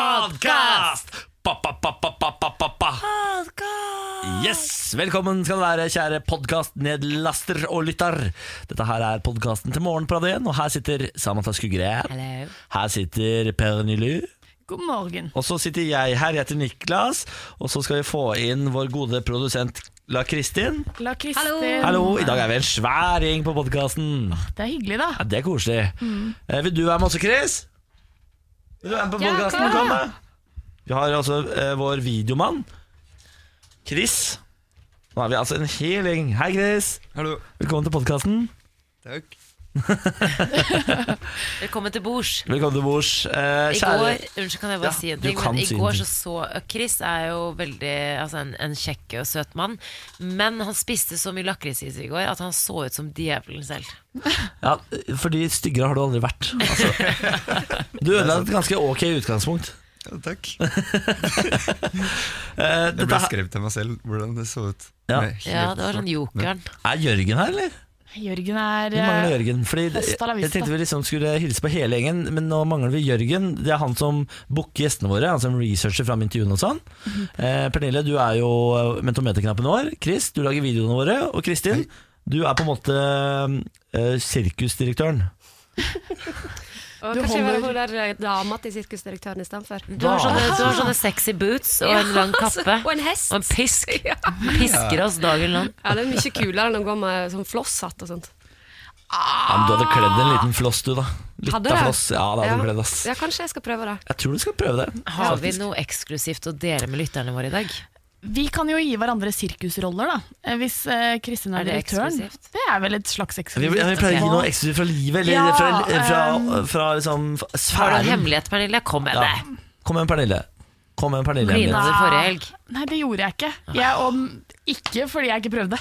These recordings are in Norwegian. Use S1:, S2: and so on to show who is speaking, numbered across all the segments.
S1: Podcast! Pa-pa-pa-pa-pa-pa-pa. Yes! Velkommen skal du være, kjære podkastnedlaster og lytter. Dette her er podkasten til morgen på Radio 1, og her sitter Samantha Skugren.
S2: Hello.
S1: Her sitter Per Nyly.
S2: God morgen.
S1: Og så sitter jeg her, jeg heter Niklas, og så skal vi få inn vår gode produsent La Kristin.
S2: La Kristin.
S1: Hallo, i dag er vi en svær gjeng på podkasten.
S2: Det er hyggelig, da.
S1: Ja, det er koselig. Eh, vil du være med også, Chris? Vil du være med på
S2: Ja,
S1: podkasten?
S2: kom.
S1: Kom, da. Vi har altså eh, vår videomann, Chris. Nå er vi altså en hel gjeng. Hei, Chris.
S3: Hallo.
S1: Velkommen til podkasten.
S3: Takk.
S4: Velkommen til bords.
S1: Velkommen til bords. Eh,
S4: I går,
S1: kjære
S4: unnskyld, kan jeg bare
S1: Ja,
S4: si en
S1: du
S4: ting?
S1: kan
S4: Men
S1: si
S4: i
S1: en
S4: går
S1: ting.
S4: så så Chris er jo veldig altså en, en kjekk og søt mann, men han spiste så mye lakrisis i går at han så ut som djevelen selv.
S1: ja, Fordi styggere har du aldri vært. Altså. Du ødela et ganske ok utgangspunkt.
S3: Ja, takk.
S1: Eh,
S3: Jeg ble
S1: dette her,
S3: skrevet til meg selv hvordan det så ut.
S1: Ja.
S3: Det er helt
S4: Ja, det var sånn
S3: svart.
S4: jokeren.
S1: er Jørgen her, eller?
S2: Jørgen er
S1: Vi mangler
S2: eh,
S1: Jørgen. Fordi det-
S2: Costa la
S1: jeg
S2: Vista.
S1: tenkte vi liksom skulle hilse på hele gjengen, men nå mangler vi Jørgen. Det er han som booker gjestene våre, han som researcher fram intervjuene og sånn. Eh, Pernille, du er jo mentometerknappen vår. Chris, du lager videoene våre. Og Kristin, du er på en måte eh, sirkusdirektøren.
S5: Og
S2: Du
S5: kanskje
S2: holder- Mm.
S5: være hun der eh, dama til sirkusdirektøren istedenfor.
S4: Du har sånne, du har sånne sexy boots og en lang
S1: altså.
S4: kappe.
S5: Og en hest.
S4: Og en pisk. Pisker oss dagen lang.
S5: Ja, det er mye kulere enn å gå med sånn flosshatt og sånt.
S1: Ja, men du hadde kledd en liten floss, du, da. Litt
S5: Hadde
S1: av
S5: jeg?
S1: floss. Ja, det hadde du
S5: Ja.
S1: kledd, ass.
S5: Ja, kanskje jeg skal prøve det.
S1: Jeg tror du skal prøve det.
S4: Har vi
S1: faktisk.
S4: noe eksklusivt å dele med lytterne våre i dag?
S2: eh, Vi kan jo gi hverandre sirkusroller, da. Eh, Hvis eh, Kristin er,
S4: Er det
S2: direktøren.
S4: eksklusivt?
S2: Det er vel et slags
S1: Vi,
S2: eksklusivt.
S1: vi pleier å gi
S2: Og-
S1: noe eksklusivt fra livet, eller
S2: Ja,
S1: fra, fra,
S2: ehm,
S1: fra liksom
S4: Har du
S1: sfæren.
S4: en hemmelighet, Pernille? Kom med
S1: Ja.
S4: det!
S1: Kom igjen, Pernille. Kom igjen, Pernille.
S4: Glina
S1: Emil.
S4: det forrige helg.
S2: Nei, det gjorde jeg ikke.
S1: Ah.
S2: Jeg, og ikke fordi jeg ikke prøvde.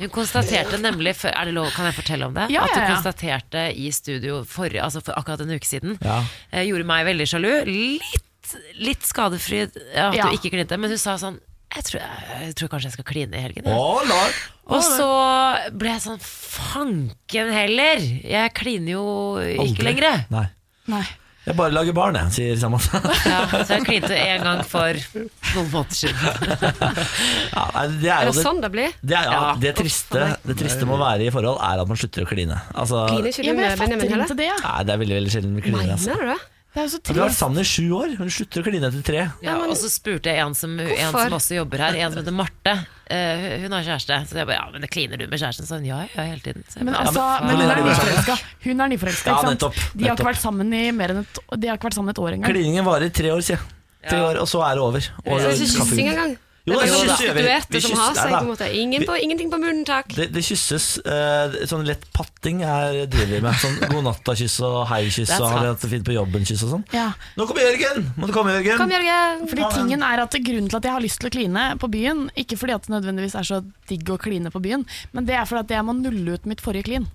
S4: Hun konstaterte nemlig før, er det lov, Kan jeg fortelle om det?
S2: Ja,
S4: At hun
S2: ja, ja.
S4: konstaterte i studio for, altså for akkurat en uke siden.
S1: Ja.
S4: Eh, gjorde meg veldig sjalu. Litt, litt skadefri ja, at
S2: Ja.
S4: du ikke klinte, men hun sa sånn jeg tror, jeg tror kanskje jeg skal kline i helgen. jeg».
S1: Å, Lars.
S4: Og så ble jeg sånn Fanken heller! Jeg kliner jo
S1: Aldri.
S4: ikke lenger. jeg».
S1: Nei.
S2: Nei.
S1: Jeg bare lager barn, jeg, sier Samantha.
S4: Ja, så jeg klinte én gang for noen måneder siden.
S1: Ja, nei, det er
S5: Er
S1: jo
S5: det
S1: det,
S5: sånn det blir?
S1: det, er, ja,
S4: Ja.
S1: det triste, det triste med å være i forhold, er at man slutter å kline. Altså,
S5: Kliner ikke du
S2: Ja, men jeg
S5: med
S2: fatter
S5: Benjamin
S2: ikke
S5: heller?
S2: det. Ja.
S1: nei, det er veldig veldig sjelden vi kliner. Altså.
S5: Mener du det?
S2: Det er jo så
S1: Vi har vært
S2: trist.
S1: sammen i sju år, hun slutter å kline etter tre.
S4: Ja, og så spurte jeg en som, en
S5: Hvorfor?
S4: som også jobber her, en som heter Marte. Eh, hun har kjæreste. Så jeg bare ja, men det kliner du med kjæresten? Så hun ja, ja, hele tiden. Så jeg
S2: Men,
S4: bare,
S2: altså,
S1: Ja, men
S2: men hun
S1: faen.
S2: er nyforelska. Hun er nyforelska,
S1: Ja,
S2: ikke sant.
S1: nettopp,
S2: De har
S1: nettopp.
S2: ikke vært sammen i mer enn et, de har ikke vært sammen et år engang.
S1: Kliningen varer i tre år, sier jeg. Tre
S4: Ja.
S1: år, og så er det over. Og,
S5: Så det er ikke
S1: kaffe-
S5: kyssing engang?
S1: Jo,
S5: Det er
S1: det er
S5: sånn
S1: kyssing. Vi- vi
S5: prostituerte som har
S1: kysser-
S5: seg på
S1: nei,
S5: en måte. Ingen på, ingenting på munnen, takk.
S1: Det, det kysses eh, sånn lett patting er driver vi med. Sånn god natta-kyss og hei-kyss
S4: Det
S1: og
S4: er
S1: har
S4: sant.
S1: du hatt det fint på jobben-kyss og sånn.
S2: Ja.
S1: Nå kommer Jørgen! Må du komme, Jørgen?
S5: Kom, Jørgen.
S2: Fordi tingen er at Grunnen til at jeg har lyst til å kline på byen, ikke fordi at det nødvendigvis er så digg å kline på byen, men det er fordi at jeg må nulle ut mitt forrige klin.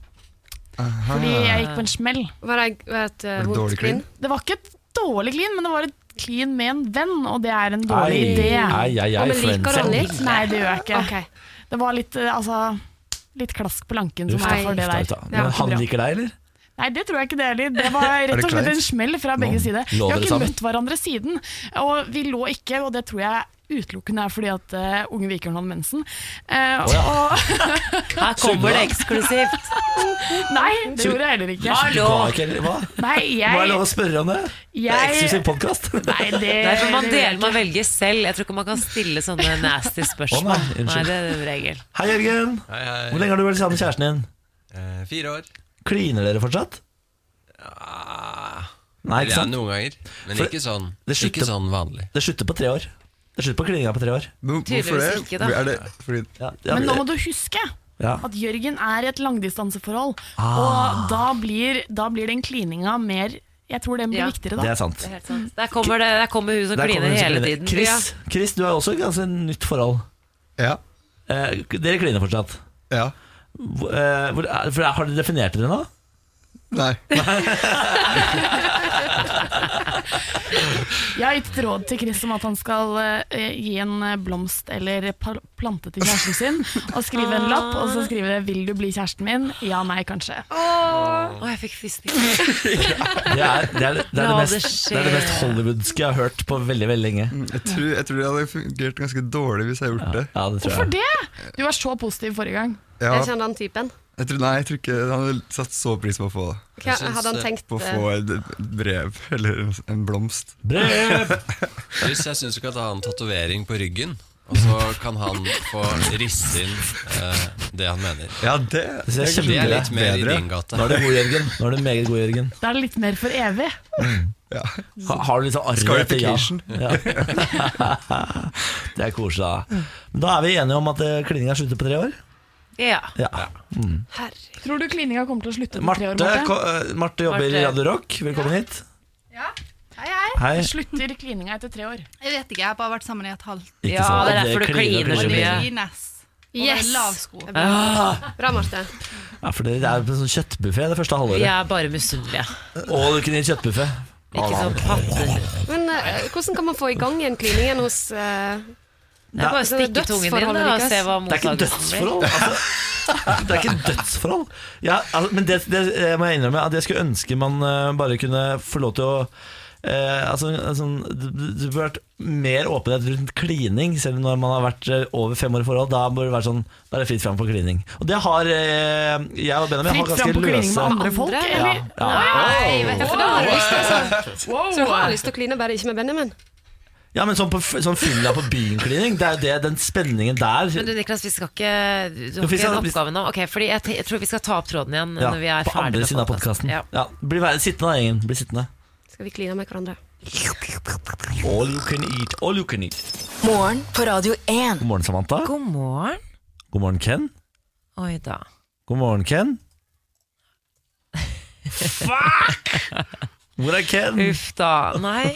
S2: Fordi jeg gikk på en smell.
S5: Var det var det et eh,
S3: Var det
S5: vondt
S3: dårlig
S5: klin?
S3: klin?
S2: Det var ikke et dårlig klin, men det var et klin med en venn, og det er en dårlig
S1: Ai,
S2: idé.
S1: ai, ai,
S5: Ja,
S1: ai,
S5: men
S1: for en
S5: liker han
S1: sending.
S5: litt?
S2: Nei, det gjør jeg ikke.
S5: Ok.
S2: Det var litt, eh, altså, litt klask på lanken som
S1: Uff,
S2: er for det
S1: uff,
S2: der.
S1: uff, uff,
S2: Det
S1: Men
S2: var ikke
S1: han
S2: bra.
S1: liker deg, eller?
S2: Nei, det tror jeg ikke det heller. Det var rett og slett en
S3: kleint?
S2: smell fra begge sider. Vi
S1: lå
S2: har
S1: dere
S2: ikke
S1: sammen?
S2: møtt hverandre siden, og vi lå ikke, og det tror jeg utelukkende er fordi at eh, unge Vikørn hadde mensen. Eh, og,
S4: Her kommer det eksklusivt!
S2: nei, det gjorde jeg heller ikke.
S4: Hallo!
S1: Var ikke heller- Hva?
S2: Nei,
S1: Må jeg
S2: jeg,
S1: lov å spørre om det? Det er
S2: Jeg-
S1: eksklusiv podkast.
S2: nei det,
S4: Nei, for man deler, man velger selv. Jeg tror ikke man kan stille sånne nasty spørsmål.
S1: Å, nei, unnskyld.
S4: nei, det er en regel.
S1: Hei, Jørgen.
S6: Hei, hei.
S1: Hvor lenge har du vært sammen med kjæresten din?
S6: Eh, fire år.
S1: Kliner dere fortsatt?
S6: Ah,
S1: Nei,
S6: eller
S1: ikke
S6: ja,
S1: sant?
S6: noen ganger. Men
S1: For-
S6: ikke sånn
S1: det slutter-
S6: Ikke sånn vanlig.
S1: Det slutter på tre år. Det slutter på klininga på tre år.
S3: Men hvorfor det?
S4: Tydeligvis ikke, da.
S3: Er det fordi
S1: Ja, ja.
S2: Men nå må du huske
S1: ja.
S2: at Jørgen er i et langdistanseforhold,
S1: Ah.
S2: og da blir, da blir den klininga mer Jeg tror den blir
S4: Ja.
S2: viktigere da.
S1: Det er sant.
S4: Det er helt sant. Der kommer, det, der kommer hun som
S1: Der kommer
S4: kliner
S1: hun som
S4: hele
S1: kliner.
S4: tiden.
S1: Chris, Chris, du er også i et ganske nytt forhold.
S3: Ja.
S1: Eh, dere kliner fortsatt.
S3: ja.
S1: Hvor- eh, hvor, er- for, har dere definert dere nå?
S3: Nei.
S2: Jeg har gitt et råd til Chris om at han skal eh, gi en eh, blomst eller pal- plante til kjæresten sin, og skrive en lapp, og så skrive det 'Vil du bli kjæresten min?' Ja, nei, kanskje.
S4: Å, jeg fikk frysninger.
S1: Det er det, er, det, er det,
S4: La det
S1: mest, det, er det mest
S4: skje.
S1: hollywoodske jeg har hørt på veldig veldig lenge.
S3: Jeg tror, jeg tror det hadde fungert ganske dårlig hvis jeg hadde gjort det.
S1: Ja, det tror
S2: Hvorfor
S1: jeg.
S2: det? Du var så positiv forrige gang.
S3: Ja,
S5: Jeg kjenner den typen.
S3: jeg tror, nei, jeg tror ikke han hadde satt så pris på å få
S5: Hva
S3: det.
S6: Jeg syns,
S5: hadde han
S6: eh,
S5: tenkt
S3: På å
S5: eh,
S3: få et brev eller en blomst.
S1: Brev!
S6: Hvis jeg syns du kan ta en tatovering på ryggen, og så kan han få risse inn eh, det han mener.
S3: Ja, det,
S1: Det synes jeg er
S6: Det er litt mer i
S3: bedre.
S6: din gate.
S1: Nå er du god, Jørgen. Nå er du meget god, Jørgen.
S2: Da er det litt mer for evig.
S3: Ja.
S1: Ha, har du litt sånn arr etter ja?
S3: Scarification.
S1: ja. det er koselig, da. Men da er vi enige om at eh, klininga slutter på tre år?
S4: Ja.
S1: Ja.
S5: Herregud.
S2: Tror du klininga kommer til å slutte på tre år?
S1: Marte,
S2: Marte?
S1: ko- eh, Marte jobber i
S4: Marte.
S1: Radio Rock. Velkommen hit.
S7: Hei, hei.
S1: Hei.
S2: Slutter klininga etter tre år?
S7: Jeg vet ikke, jeg har bare vært sammen i et halvt
S1: Ikke
S4: Ja,
S1: sant?
S4: det er derfor du kliner
S7: Og
S4: så
S7: det
S4: mye.
S7: er Ines. Og det
S5: Yes.
S7: er lav sko.
S5: Bra, Marte.
S1: Ja, for dere er på sånn kjøttbuffé det første
S4: Vi
S1: halvåret.
S4: er bare misunnelige.
S1: Og du kunne gitt kjøttbuffé.
S4: Ikke sånn patter.
S5: Men eh, hvordan kan man få i gang igjen kliningen hos eh,
S4: Det er bare å
S5: Sånn
S4: stikke tungen din da,
S5: dødsforholdet
S4: og se hva
S1: Det er ikke
S4: mottakelsen blir.
S1: dødsforhold. Altså. Det er ikke dødsforhold. Ja, altså, men det, det eh, må jeg innrømme at jeg skulle ønske man eh, bare kunne få lov til å eh, altså, altså, det, det det burde vært mer åpenhet rundt klining, selv når man har vært eh, over fem år i forhold. Da burde det vært sånn Da er det fritt fram for klining. Og det har eh, jeg og Benjamin har
S2: Fritt fram
S1: ganske
S2: på klining med
S1: løse
S2: andre folk?
S5: Andre?
S1: ja,
S2: Eller?
S1: ja.
S7: Nei, vet du, for da har jeg lyst til å sånn-
S5: Så hun har lyst til å kline, bare ikke med Benjamin.
S1: ja, men sånn, på, f- sånn fylla på byen-klining, det er jo det, den spenningen der
S4: Men du Niklas, vi skal ikke Du
S1: Jo,
S4: har
S1: vi
S4: ikke
S1: skal-
S4: en
S1: vi-
S4: oppgave nå? Ok, fordi jeg, te- jeg tror vi skal ta opp tråden igjen
S1: ja,
S4: når vi er
S1: På
S4: ferdig
S1: andre
S4: med
S1: siden av
S4: podcasten.
S1: podkasten. Ja,
S4: Ja.
S1: bli vær- sittende da, gjengen. Bli sittende.
S5: Skal vi kline med hverandre?
S1: All you can eat, all you can eat.
S8: Morgen på Radio 1.
S1: God morgen, Samantha.
S4: God morgen.
S1: God morgen, Ken.
S4: Oi da.
S1: God morgen, Ken. Fuck! Hvor er Ken?
S4: Uff da. Nei.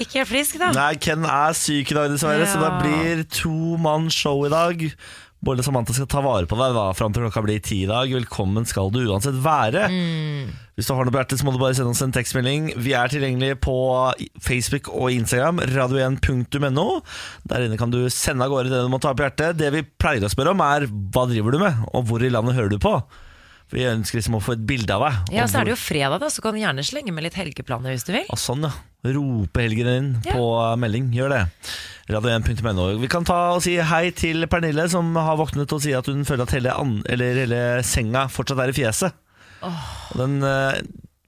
S4: Ikke helt frisk, da.
S1: Nei, Ken er syk i dag, dessverre, så det
S4: Ja.
S1: blir to mann show i dag. Bård og Samantha skal ta vare på deg da, fram til klokka blir ti i dag. Velkommen skal du uansett være.
S4: Mm.
S1: Hvis du har noe på hjertet, så må du bare sende oss en tekstmelding. Vi er tilgjengelige på Facebook og Instagram, radio1.no. Der inne kan du sende av gårde det du må ta på hjertet. Det vi pleier å spørre om, er hva driver du med, og hvor i landet hører du på? For Vi ønsker liksom å få et bilde av deg.
S4: Ja,
S1: og
S4: så er det
S1: hvor-
S4: jo fredag, da, så kan du gjerne slenge med litt helgeplaner hvis du vil.
S1: ja, sånn, ja. Rope helgen inn
S4: Ja.
S1: på eh, melding. Gjør det. Radio1.no. Vi kan ta og si hei til Pernille, som har våknet og sier at hun føler at hele, an eller hele senga fortsatt er i fjeset. Og den eh,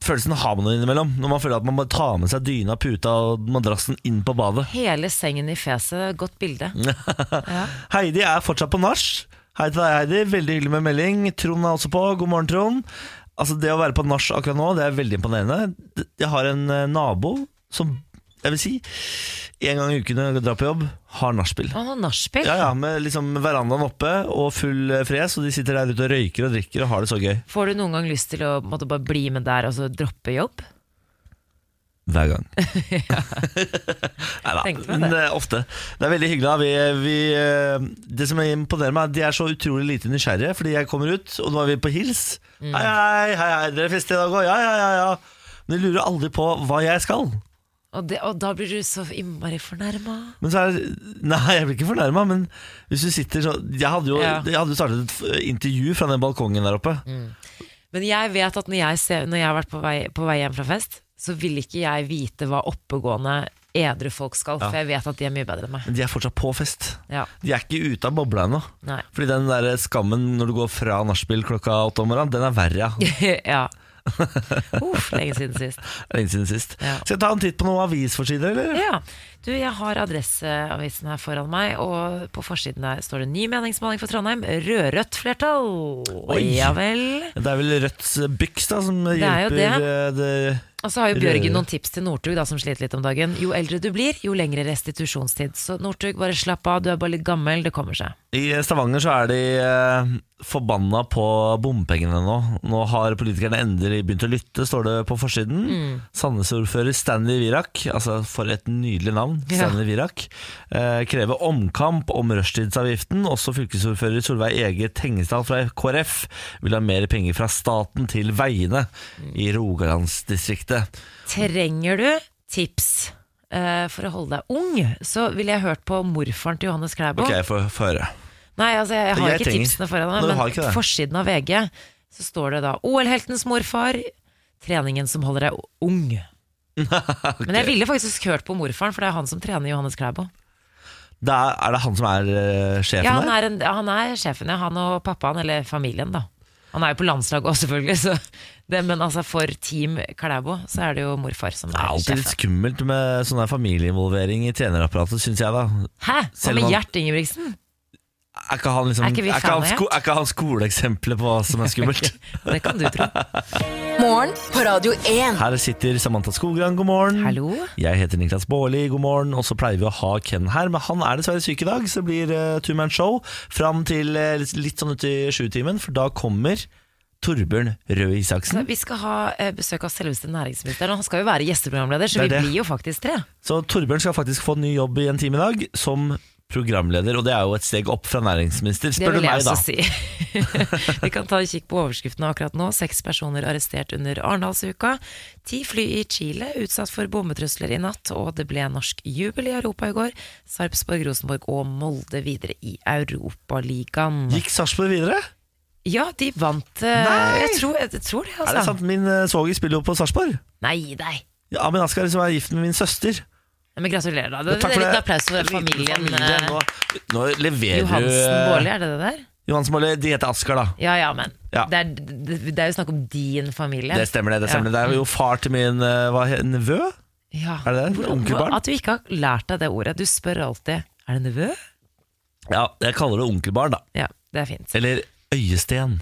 S1: følelsen har man innimellom, når man føler at man må ta med seg dyna, puta og madrassen inn på badet.
S4: Hele sengen i fjeset. Godt bilde. Ja.
S1: Heidi er fortsatt på nach. Hei til deg, Heidi. Veldig hyggelig med melding. Trond er også på. God morgen, Trond. Altså, det å være på nach akkurat nå, det er veldig imponerende. Jeg har en eh, nabo som, jeg vil si, en gang i uken når jeg drar på jobb, har nachspiel.
S4: Og noe nachspiel.
S1: Ja, ja, med liksom verandaen oppe og full eh, fres, og de sitter der ute og røyker og drikker og har det så gøy.
S4: Får du noen gang lyst til å på en måte, bare bli med der og så droppe jobb?
S1: Hver gang. Nei da,
S4: Tenkte meg det.
S1: men eh, ofte. Det er veldig hyggelig. Da. Vi, vi, eh, det som imponerer meg, er at de er så utrolig lite nysgjerrige. Fordi jeg kommer ut, og nå er vi på hils.
S4: Mm.
S1: Hei, hei, hei, hei, dere fester i dag òg? Ja, ja, ja, ja. Men de lurer aldri på hva jeg skal.
S4: Og, det, og da blir du så innmari fornærma.
S1: Men så er Nei, jeg blir ikke fornærma, men hvis du sitter så Jeg hadde jo,
S4: Ja. Mm.
S1: jeg hadde jo startet et f- intervju fra den balkongen der oppe.
S4: Men jeg vet at når jeg, ser, når jeg har vært på vei, på vei hjem fra fest, så vil ikke jeg vite hva oppegående edru folk skal, for jeg vet at de er mye bedre enn meg.
S1: Men de er fortsatt på fest.
S4: Ja,
S1: De er ikke ute av bobla ennå.
S4: nei.
S1: Fordi den der skammen når du går fra nachspiel klokka åtte om morgenen, den er verre, ja.
S4: ja. Uff, lenge siden sist.
S1: Lenge siden sist.
S4: Ja.
S1: Skal jeg ta en titt på noen avisforsider, eller?
S4: Ja, du, jeg har Adresseavisen her foran meg, og på forsiden der står det ny meningsmåling for Trondheim. Rød-rødt flertall.
S1: Oi.
S4: Ja vel.
S1: Det er vel Rødts byks da, som
S4: er jo
S1: hjelper eh, det.
S4: Og så har jo Bjørgen
S1: Rød.
S4: noen tips til Northug, da, som sliter litt om dagen. Jo eldre du blir, jo lengre restitusjonstid. Så Northug, bare slapp av, du er bare litt gammel, det kommer seg.
S1: I Stavanger så er de eh, forbanna på bompengene nå. Nå har politikerne endelig begynt å lytte, står det på forsiden.
S4: Mm.
S1: Sandnes-ordfører Stanley Virak, altså for et nydelig navn,
S4: Ja.
S1: Stanley Virak, eh, krever omkamp om rushtidsavgiften. Også fylkesordfører Solveig Ege Tengesdal fra KrF vil ha mer penger fra staten til veiene i Rogalandsdistriktet.
S4: Trenger du tips eh, for å holde deg ung, så ville jeg hørt på morfaren til Johannes Klæbo.
S1: Ok, jeg får få høre.
S4: Nei, altså jeg har
S1: Jeg
S4: ikke
S1: trenger-
S4: tipsene foran
S1: Nei, du
S4: meg,
S1: har ikke
S4: men
S1: det.
S4: forsiden av VG så står det da 'OL-heltens morfar'. Treningen som holder deg ung. Men jeg ville faktisk hørt på morfaren, for det er han som trener Johannes Klæbo.
S1: Det er, er det han som er eh, sjefen
S4: Ja, han
S1: der?
S4: er, en, han er sjefen, ja. Han og pappaen, eller familien, da. Han er jo på landslaget òg, selvfølgelig, så det, men altså for Team Klæbo så er det jo morfar som
S1: Det er
S4: er
S1: alltid litt
S4: sjefen.
S1: skummelt med sånn her familieinvolvering i trenerapparatet, syns jeg, da.
S4: Hæ? Hva
S1: Selv om
S4: med
S1: han-
S4: Gjert Ingebrigtsen?
S1: Er ikke han, liksom,
S4: Er ikke vi
S1: han,
S4: fan av
S1: sko, er ikke han skoleeksempelet på hva som er skummelt?
S4: Det kan du tro.
S8: Morgen på Radio 1.
S1: Her sitter Samantha Skogran, god morgen.
S4: Hallo?
S1: Jeg heter Niklas Baarli, god morgen. Og så pleier vi å ha Ken her, men han er dessverre syk i dag. Så det blir uh, two man show fram til eh, litt, litt sånn uti sjutimen, for da kommer Torbjørn Røe
S4: Så
S1: Isaksen.
S4: vi skal ha eh, besøk av selveste næringsministeren, og han skal jo være gjesteprogramleder,
S1: Det
S4: så
S1: er
S4: vi
S1: det.
S4: blir jo faktisk tre.
S1: Så Torbjørn skal faktisk få ny jobb i en time i dag, som programleder. Og det er jo et steg opp fra næringsminister,
S4: Det
S1: spør du
S4: vil jeg
S1: meg, da.
S4: også si. Vi kan ta en kikk på overskriftene akkurat nå. Seks personer arrestert under Arendalsuka. Ti fly i Chile utsatt for bombetrusler i natt, og det ble norsk jubel i Europa i går. Sarpsborg, Rosenborg og Molde videre i Europaligaen.
S1: Gikk Sarpsborg videre?
S4: Ja, de vant eh, jeg tror, jeg tror det,
S1: Er det
S4: altså.
S1: sant? Min eh, svoger spiller jo på Sarpsborg.
S4: Nei, nei.
S1: Ja, Amin Askar som er gift med min søster.
S4: Men gratulerer, da. Det,
S1: Takk
S4: det
S1: for
S4: er litt
S1: det.
S4: applaus for familien.
S1: Familien,
S4: eh,
S1: nå, nå leverer du
S4: Johansen
S1: eh,
S4: Baarli, er det det der?
S1: Johansen Baarli. De heter Askar, da.
S4: Ja ja, men.
S1: Ja.
S4: Det, er, det, det er jo snakk om din familie.
S1: Det stemmer, det. det stemmer
S4: Ja.
S1: det. Det er jo far til min eh, hva, he- nevø.
S4: Ja.
S1: Er det det?
S4: Hvordan-
S1: Onkelbarn?
S4: At du ikke har lært deg det ordet. Du spør alltid Er det nevø?
S1: Ja, jeg kaller det onkelbarn, da.
S4: Ja, det er fint.
S1: Eller øyesten.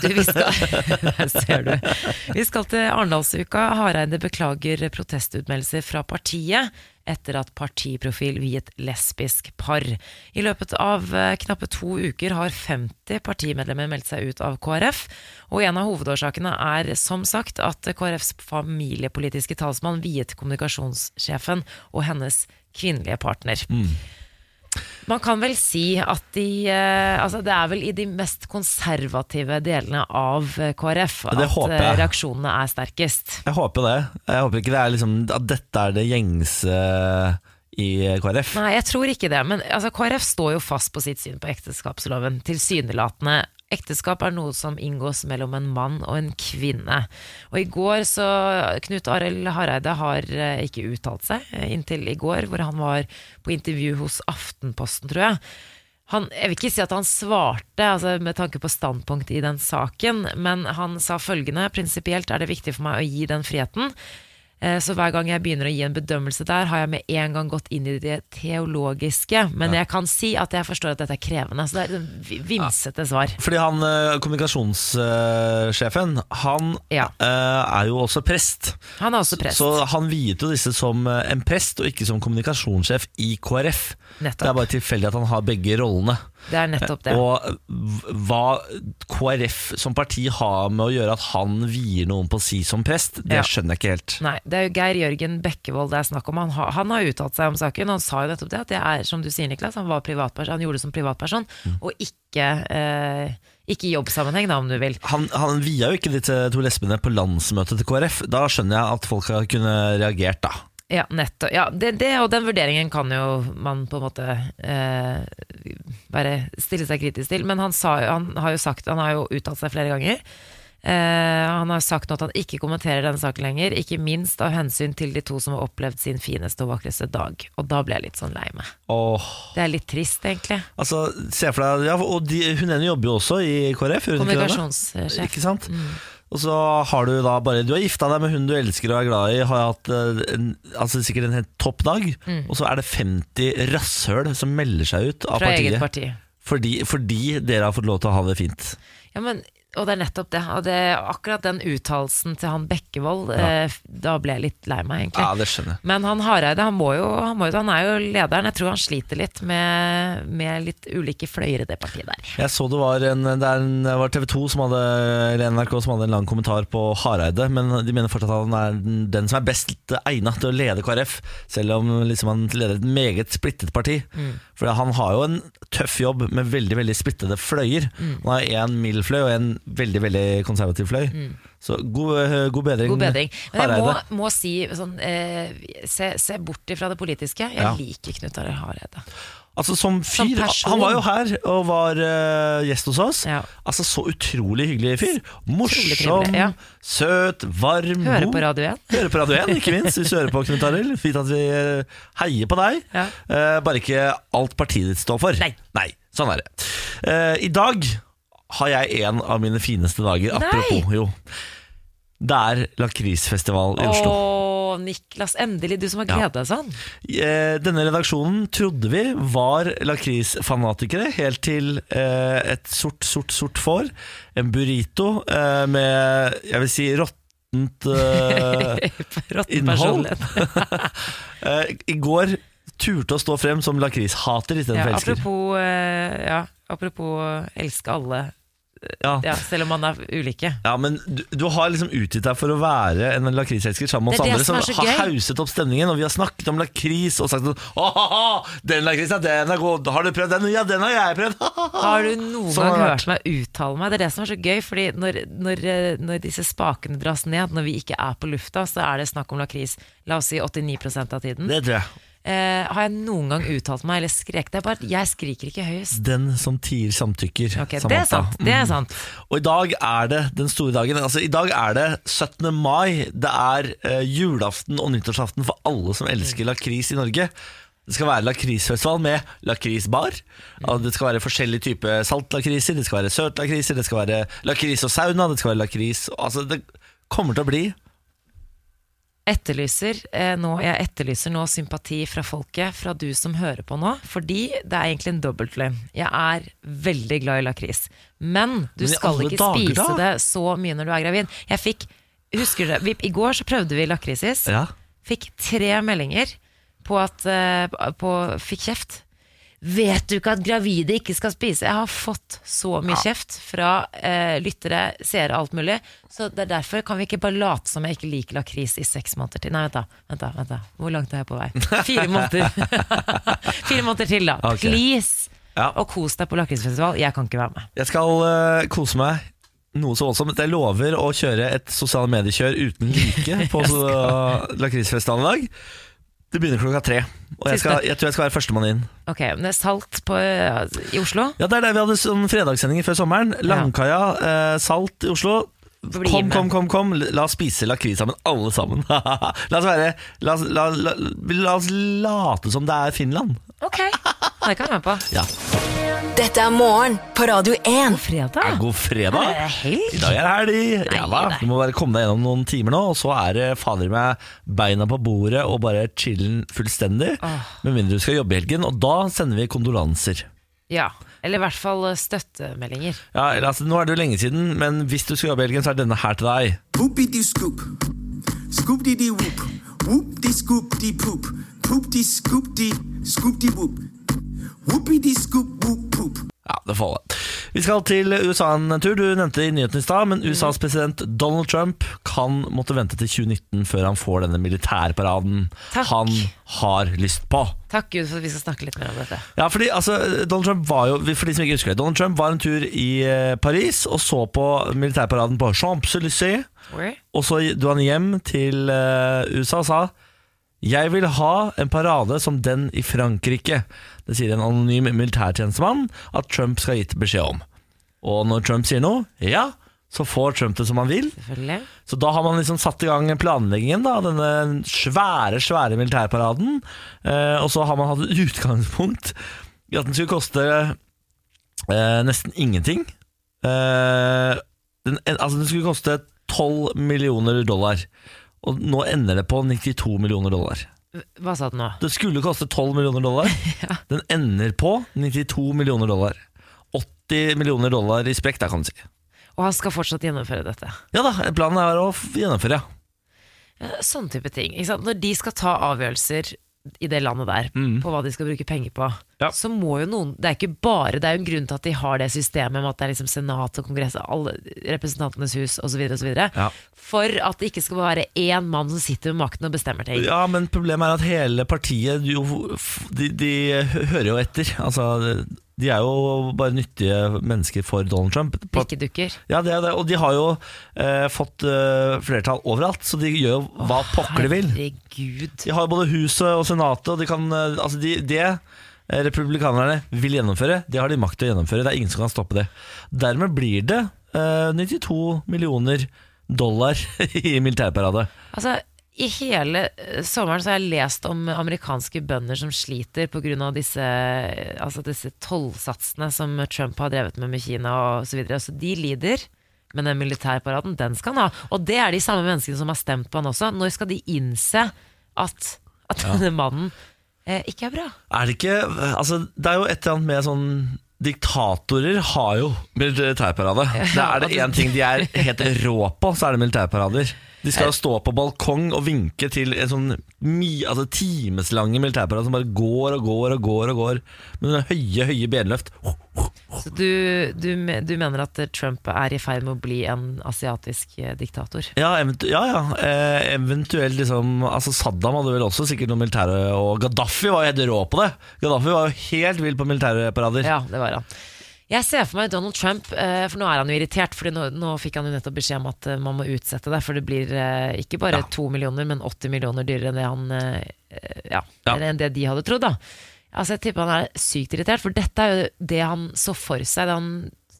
S4: Du, vi skal, der ser du. Vi skal til Arendalsuka. Hareide beklager protestutmeldelser fra partiet etter at partiprofil viet lesbisk par. I løpet av eh, knappe to uker har 50 partimedlemmer meldt seg ut av KrF. Og en av hovedårsakene er som sagt at KrFs familiepolitiske talsmann viet kommunikasjonssjefen og hennes kvinnelige partner. Man kan vel si at de eh, altså Det er vel i de mest konservative delene av eh, KrF
S1: det
S4: at
S1: håper
S4: eh,
S1: jeg.
S4: reaksjonene er sterkest.
S1: Jeg håper det. Jeg håper ikke det er liksom at dette er det gjengse eh, i KrF.
S4: Nei, jeg tror ikke det. Men altså, KrF står jo fast på sitt syn på ekteskapsloven, tilsynelatende. Ekteskap er noe som inngås mellom en mann og en kvinne. Og i går så Knut Arild Hareide har eh, ikke uttalt seg, eh, inntil i går, hvor han var på intervju hos Aftenposten, tror jeg. han, jeg vil ikke si at han svarte altså med tanke på standpunkt i den saken, men han sa følgende prinsipielt er det viktig for meg å gi den friheten. Eh, Så hver gang jeg begynner å gi en bedømmelse der, har jeg med en gang gått inn i det teologiske. Men jeg kan si at jeg forstår at dette er krevende. Så det er et vi- vimsete svar.
S1: Fordi han eh, kommunikasjonssjefen, han
S4: Ja.
S1: eh, er jo også prest.
S4: Han er også prest.
S1: Så han viet jo disse som eh, en prest, og ikke som kommunikasjonssjef i KrF. Det er
S4: Nettopp.
S1: bare tilfeldig at han har begge rollene.
S4: Det er nettopp det.
S1: Og v- hva KrF som parti har med å gjøre at han vier noen på si som prest, det
S4: Ja.
S1: skjønner jeg ikke helt.
S4: Nei, det er jo Geir Jørgen Bekkevold det er snakk om. Han har, han har uttalt seg om saken, og han sa jo nettopp det, at det er, som du sier, Niklas, han, var privatperson, han gjorde det som privatperson,
S1: Mm.
S4: og ikke, eh, ikke i jobbsammenheng, da, om du vil.
S1: Han, han via jo ikke disse to lesbene på landsmøtet til KrF. Da skjønner jeg at folk har kunnet reagert, da.
S4: Ja, nettopp. Ja, det, det, og den vurderingen kan jo man på en måte eh, bare stille seg kritisk til. Men han, sa, jo- han har jo sagt Han har jo uttalt seg flere ganger. Eh, han har sagt nå at han ikke kommenterer denne saken lenger, ikke minst av hensyn til de to som har opplevd sin fineste og vakreste dag. Og da ble jeg litt sånn lei meg.
S1: Åh,
S4: Det er litt trist, egentlig.
S1: altså, se for deg ja, Og de, hun ene jobber jo også i KrF, gjør hun ikke det?
S4: Kommunikasjonssjef.
S1: Ikke sant?
S4: Mm.
S1: Og så har du da bare Du har gifta deg med hun du elsker og er glad i, har hatt eh, en, altså sikkert en helt topp dag,
S4: Mm.
S1: og så er det 50 rasshøl som melder seg ut av
S4: Fra eget
S1: partiet.
S4: parti.
S1: Fordi, fordi dere har fått lov til å ha det fint.
S4: Ja, men, og det er nettopp det. Og det akkurat den uttalelsen til han Bekkevold, eh, da ble jeg litt lei meg, egentlig.
S1: Ja, det skjønner jeg.
S4: Men han Hareide, han, må jo, han, må jo, han er jo lederen. Jeg tror han sliter litt med, med litt ulike fløyer i det partiet der.
S1: Jeg så det var, en, det er en, det var TV 2 som hadde, eller NRK som hadde en lang kommentar på Hareide, men de mener fortsatt at han er den- den som er best egnet til å lede KrF, selv om liksom han leder et meget splittet parti.
S4: Mm. Mm.
S1: For han har jo en tøff jobb med veldig veldig splittede fløyer. Han har en mild fløy og en veldig veldig konservativ fløy. Så god, eh, god bedring,
S4: Mm. God bedring. Men jeg må,
S1: Hareide.
S4: må si sånn, eh, se, se bort ifra det politiske. Jeg
S1: Ja.
S4: liker Knut Arild Hareide.
S1: Altså Som
S4: Som
S1: fyr
S4: person.
S1: Han var jo her og var eh, gjest hos oss.
S4: Ja.
S1: Altså Så utrolig hyggelig fyr. Morsom,
S4: trivelig, ja.
S1: søt, varm,
S4: Hører
S1: god.
S4: på Radio 1.
S1: Høre på Radio 1, ikke minst, hvis du hører på Knut Arild. Fint at vi eh, heier på deg.
S4: Ja.
S1: Eh, bare ikke alt partiet ditt står for.
S4: Nei.
S1: Sånn er det. Eh, I dag har jeg en av mine fineste dager.
S4: Nei.
S1: Apropos, jo. Det er lakrisfestival i Oslo.
S4: Å, Niklas, endelig du som har
S1: Ja.
S4: gleda deg sånn.
S1: Eh, Denne redaksjonen trodde vi var lakrisfanatikere, helt til eh, et sort, sort, sort får. En burrito eh, med, jeg vil si, råttent eh,
S4: Råtten
S1: innhold.
S4: personlighet.
S1: Eh, I går turte å stå frem som lakrishater
S4: Ja,
S1: istedenfor elsker.
S4: apropos eh, ja, apropos eh, elske alle,
S1: Ja.
S4: ja, selv om man er ulike.
S1: Ja, men du, du har liksom utgitt deg for å være en lakriselsker sammen med oss
S4: Det er det
S1: andre
S4: som
S1: som
S4: er så
S1: har
S4: gøy.
S1: hauset opp stemningen, og vi har snakket om lakris og sagt sånn Åh, den lakrisen, den er god, har du prøvd den? Ja, den har jeg prøvd!
S4: Har du noen
S1: Sånn har
S4: gang
S1: det
S4: hørt meg uttale meg? Det er det som er så gøy, fordi når, når, eh, når disse spakene dras ned, når vi ikke er på lufta, så er det snakk om lakris. La oss si 89 av tiden.
S1: Det tror jeg.
S4: Eh, har jeg noen gang uttalt meg eller skreket? Det er bare at jeg skriker ikke høyest.
S1: Den som tier, samtykker.
S4: Ok, det
S1: Samantha. Mm.
S4: er sant. Det er sant.
S1: Og i dag er det den store dagen. Altså, I dag er det 17. mai. Det er eh, julaften og nyttårsaften for alle som elsker
S4: Mm.
S1: lakris i Norge. Det skal være lakrisfestival med lakrisbar.
S4: Mm.
S1: Og Det skal være forskjellige typer saltlakriser, det skal være søtlakriser, det skal være lakris og sauna, det skal være lakris Altså, det kommer til å bli
S4: Etterlyser, eh, nå, jeg etterlyser nå sympati fra folket, fra du som hører på nå. Fordi det er egentlig en dobbeltløgn. Jeg er veldig glad i lakris. Men du
S1: Men i
S4: skal
S1: alle
S4: ikke
S1: dager,
S4: spise
S1: da?
S4: det så mye når du er gravid. Jeg fikk, husker du, det? vi, I går så prøvde vi lakrisis.
S1: Ja.
S4: Fikk tre meldinger på at eh, på, Fikk kjeft. Vet du ikke at gravide ikke skal spise? Jeg har fått så mye kjeft fra eh, lyttere, seere, alt mulig. Så det er derfor kan vi ikke bare late som jeg ikke liker lakris i seks måneder til. Nei, vent da. vent da, vent da. Hvor langt er jeg på vei? Fire måneder. Fire måneder til, da.
S1: Ok.
S4: Please!
S1: Ja.
S4: Og kos deg på lakrisfestival. Jeg kan ikke være med.
S1: Jeg skal eh, kose meg noe så voldsomt. Jeg lover å kjøre et sosiale mediekjør uten like på så- lakrisfestivalen i dag. Det begynner klokka tre, og jeg, skal, jeg tror jeg skal være førstemann inn.
S4: Ok, men det er salt på, eh, i Oslo.
S1: Ja, Det er der vi hadde sånn fredagssendinger før sommeren. Langkaia, eh, Salt i Oslo.
S4: Bli
S1: Kom,
S4: med.
S1: kom, kom, kom. La oss spise lakris sammen, alle sammen. la oss være la oss, la, la, la oss late som det er Finland.
S4: Ok, det kan jeg være med på.
S1: Ja.
S8: Dette er morgen på Radio 1.
S1: Ja,
S4: Fredag?
S1: god fredag.
S4: Er det helg?
S1: I dag er det helg. Ja da.
S4: nei.
S1: Du må bare komme deg gjennom noen timer nå, og så er det fader meg beina på bordet og bare chillen fullstendig. Med mindre du skal jobbe i helgen, og da sender vi kondolanser.
S4: Ja. Eller i hvert fall eh, støttemeldinger.
S1: Ja, eller altså, nå er det jo lenge siden, men hvis du skal jobbe i helgen, så er denne her til deg.
S9: Whoopity scoop. Scoop dee dee whoop. Whoop dee scoop dee poop. Poop dee scoop dee scoop dee whoop. Whoopity scoop whoop poop.
S1: Ja, det får holde. Vi skal til USA en tur. Du nevnte i nyheten i stad, men
S4: Mm.
S1: USAs president Donald Trump kan måtte vente til 2019 før han får denne militærparaden
S4: Takk.
S1: han har lyst på.
S4: Takk Gud for at vi skal snakke litt mer om dette.
S1: Ja, fordi altså, Donald Trump var jo For de som ikke husker det Donald Trump var en tur i eh, Paris og så på militærparaden på Champs-Élysées. Og så dro han hjem til eh, USA og sa Jeg vil ha en parade som den i Frankrike. Det sier en anonym militærtjenestemann at Trump skal ha gitt beskjed om. Og når Trump sier noe, ja, så får Trump det som han vil.
S4: Selvfølgelig.
S1: Så da har man liksom satt i gang planleggingen da, av denne svære, svære militærparaden. Eh, og så har man hatt et utgangspunkt i at den skulle koste eh, nesten ingenting. Eh, den, en, altså den skulle koste 12 millioner dollar. Og nå ender det på 92 millioner dollar.
S4: Hva sa du nå?
S1: Det skulle koste 12 millioner dollar. Den ender på 92 millioner dollar. 80 millioner dollar i sprekk, der kan du si.
S4: Og han skal fortsatt gjennomføre dette.
S1: Ja da, planen er å f- gjennomføre, ja.
S4: Eh, Sånne type ting. Ikke sant? Når de skal ta avgjørelser i det landet der, på hva de skal bruke penger på,
S1: Mm. Ja.
S4: så må jo noen Det er ikke bare, det er jo en grunn til at de har det systemet med at det er liksom senat og kongress, alle Representantenes hus osv. osv.
S1: Ja.
S4: For at det ikke skal være én mann som sitter med makten og bestemmer ting.
S1: Ja, men problemet er at hele partiet jo, f- de, de hører jo etter. Altså, de er jo bare nyttige mennesker for Donald Trump. På at-
S4: Pikkedukker.
S1: Ja, det er det. Og de har jo eh, fått eh, flertall overalt, så de gjør jo hva pokker de vil.
S4: Herregud.
S1: De har jo både huset og senatet, og de kan eh, Altså, de, det eh, republikanerne vil gjennomføre, det har de makt til å gjennomføre. Det er ingen som kan stoppe det. Dermed blir det eh, 92 millioner dollar i militærparade.
S4: Altså, I hele eh, sommeren så har jeg lest om amerikanske bønder som sliter pga. disse, eh, altså disse tollsatsene som Trump har drevet med med Kina osv. Så, videre. så de lider. Men den militærparaden, den skal han ha. Og det er de samme menneskene som har stemt på han også. Når skal de innse at, at denne mannen eh, ikke er bra?
S1: Er det ikke Altså, det er jo et eller annet med sånn Diktatorer har jo militærparade. Det er det én ting de er helt rå på, så er det militærparader. De skal jo stå på balkong og vinke til en sånn mi, altså timeslange militærparade som bare går og går og går og går. Med noen høye, høye benløft.
S4: Så du, du, me- du mener at eh, Trump er i ferd med å bli en asiatisk eh, diktator?
S1: Ja, eventu ja, ja. Eh, eventuelt liksom altså Saddam hadde vel også sikkert noen militære Og Gaddafi var jo helt rå på det! Gaddafi var jo helt vill på militærparader.
S4: Ja, det var han. Jeg ser for meg Donald Trump, eh, for nå er han jo irritert. For nå, nå fikk han jo nettopp beskjed om at eh, man må utsette det. For det blir eh, ikke bare to millioner, men 80 millioner dyrere enn det, han, eh, ja,
S1: Ja.
S4: enn det de hadde trodd. da Altså Jeg tipper han er sykt irritert, for dette er jo det han så for seg da han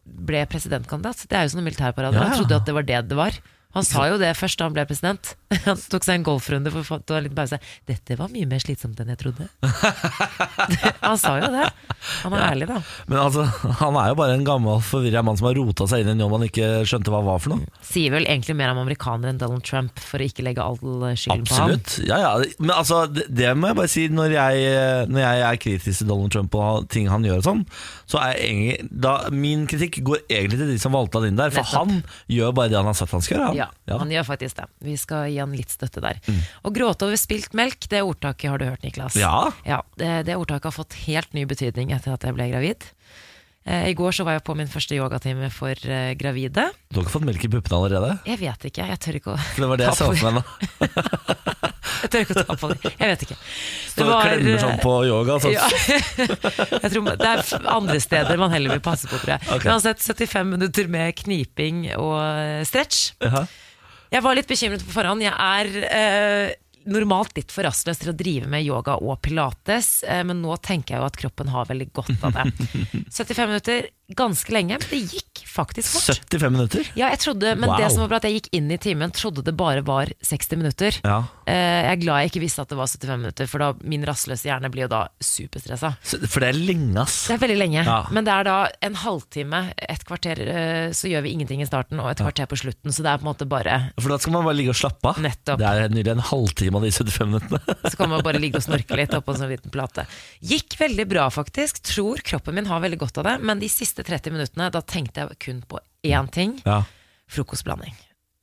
S4: ble presidentkandidat. Det er jo sånne militærparader.
S1: Ja, ja.
S4: Han trodde jo at det var det det var. Han sa jo det først da han ble president. Han tok seg en golfrunde for å få ta en liten pause. 'Dette var mye mer slitsomt enn jeg trodde'. han sa jo det. Han er ærlig, da.
S1: Men altså, han er jo bare en gammel forvirra mann som har rota seg inn i en jobb han ikke skjønte hva var for noe.
S4: sier vel egentlig mer om amerikanere enn Donald Trump, for å ikke legge all skylden
S1: Absolutt. Ja, ja. Men altså, det, det må jeg bare si, når jeg, når jeg er kritisk til Donald Trump og ting han gjør og sånn, så er jeg egentlig, da, min kritikk går egentlig til de som valgte han inn der, for
S4: Nettopp.
S1: han gjør bare det han har sagt han skal gjøre.
S4: på ham.
S1: han.
S4: Ja, han gjør faktisk det. Vi skal gi han litt støtte der. Å gråte over spilt melk, det ordtaket har du hørt, Niklas.
S1: Mm. Ja.
S4: det, det ordtaket har fått helt ny betydning etter at jeg ble gravid. Eh, I går så var jeg på min første yogatime for eh, gravide.
S1: Du har ikke fått melk i puppene allerede?
S4: Jeg vet ikke, jeg tør ikke å,
S1: For det var det jeg
S4: Ta
S1: sa
S4: på-
S1: for meg nå.
S4: jeg tør ikke å ta på det. Jeg vet ikke. eh,
S1: Står og klemmer sånn på yoga. Sånn.
S4: Ja. jeg tror det er f- andre steder man heller vil passe på, tror jeg.
S1: Ok.
S4: Men Uansett, 75 minutter med kniping og eh, stretch.
S1: Ja.
S4: Jeg var litt bekymret på forhånd. Jeg er eh, normalt litt for rastløs til å drive med yoga og pilates, eh, men nå tenker jeg jo at kroppen har veldig godt av det. 75 minutter, ganske lenge. men Det gikk faktisk fort.
S1: 75 minutter?
S4: Ja, jeg trodde, men
S1: Wow.
S4: det som var bra at jeg gikk inn i timen, trodde det bare var 60 minutter.
S1: Ja.
S4: Eh, jeg er glad jeg ikke visste at det var 75 minutter, for da min rastløse hjerne blir jo da superstressa.
S1: Så- For det er lenge, ass.
S4: Det er veldig lenge,
S1: Ja.
S4: men det er da en halvtime, et kvarter, eh, så gjør vi ingenting i starten, og et kvarter på slutten, så det er på en måte bare
S1: For da skal man bare ligge og slappe av.
S4: Nettopp.
S1: Det er nylig en halvtime av de 75 minuttene.
S4: Så kan man bare ligge og snorke litt oppå en sånn liten plate. Gikk veldig bra, faktisk. Tror kroppen min har veldig godt av det. Men de siste 30 minuttene, da tenkte jeg kun på én ting.
S1: Ja,
S4: Frokostblanding.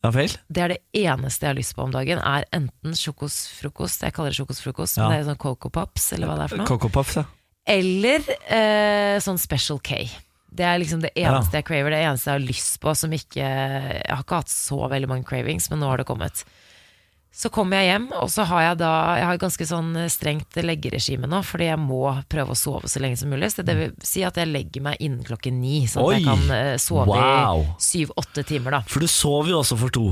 S1: ja vel?
S4: Det er det eneste jeg har lyst på om dagen. Er enten sjokosfrokost, jeg kaller det sjokosfrokost,
S1: Ja.
S4: men det er sånn Coco Pops, eller hva det er for noe.
S1: Coco Puffs, ja.
S4: Eller eh, sånn Special K. Det er liksom det eneste jeg craver, det eneste jeg har lyst på som ikke Jeg har ikke hatt så veldig mange cravings, men nå har det kommet. Så kommer jeg hjem, og så har jeg da Jeg har et ganske sånn strengt leggeregime nå, fordi jeg må prøve å sove så lenge som mulig. Så det vil si at jeg legger meg innen klokken ni, sånn at
S1: Oi!
S4: jeg kan eh, sove
S1: Wow!
S4: i syv-åtte timer, da.
S1: For du sov jo også for to.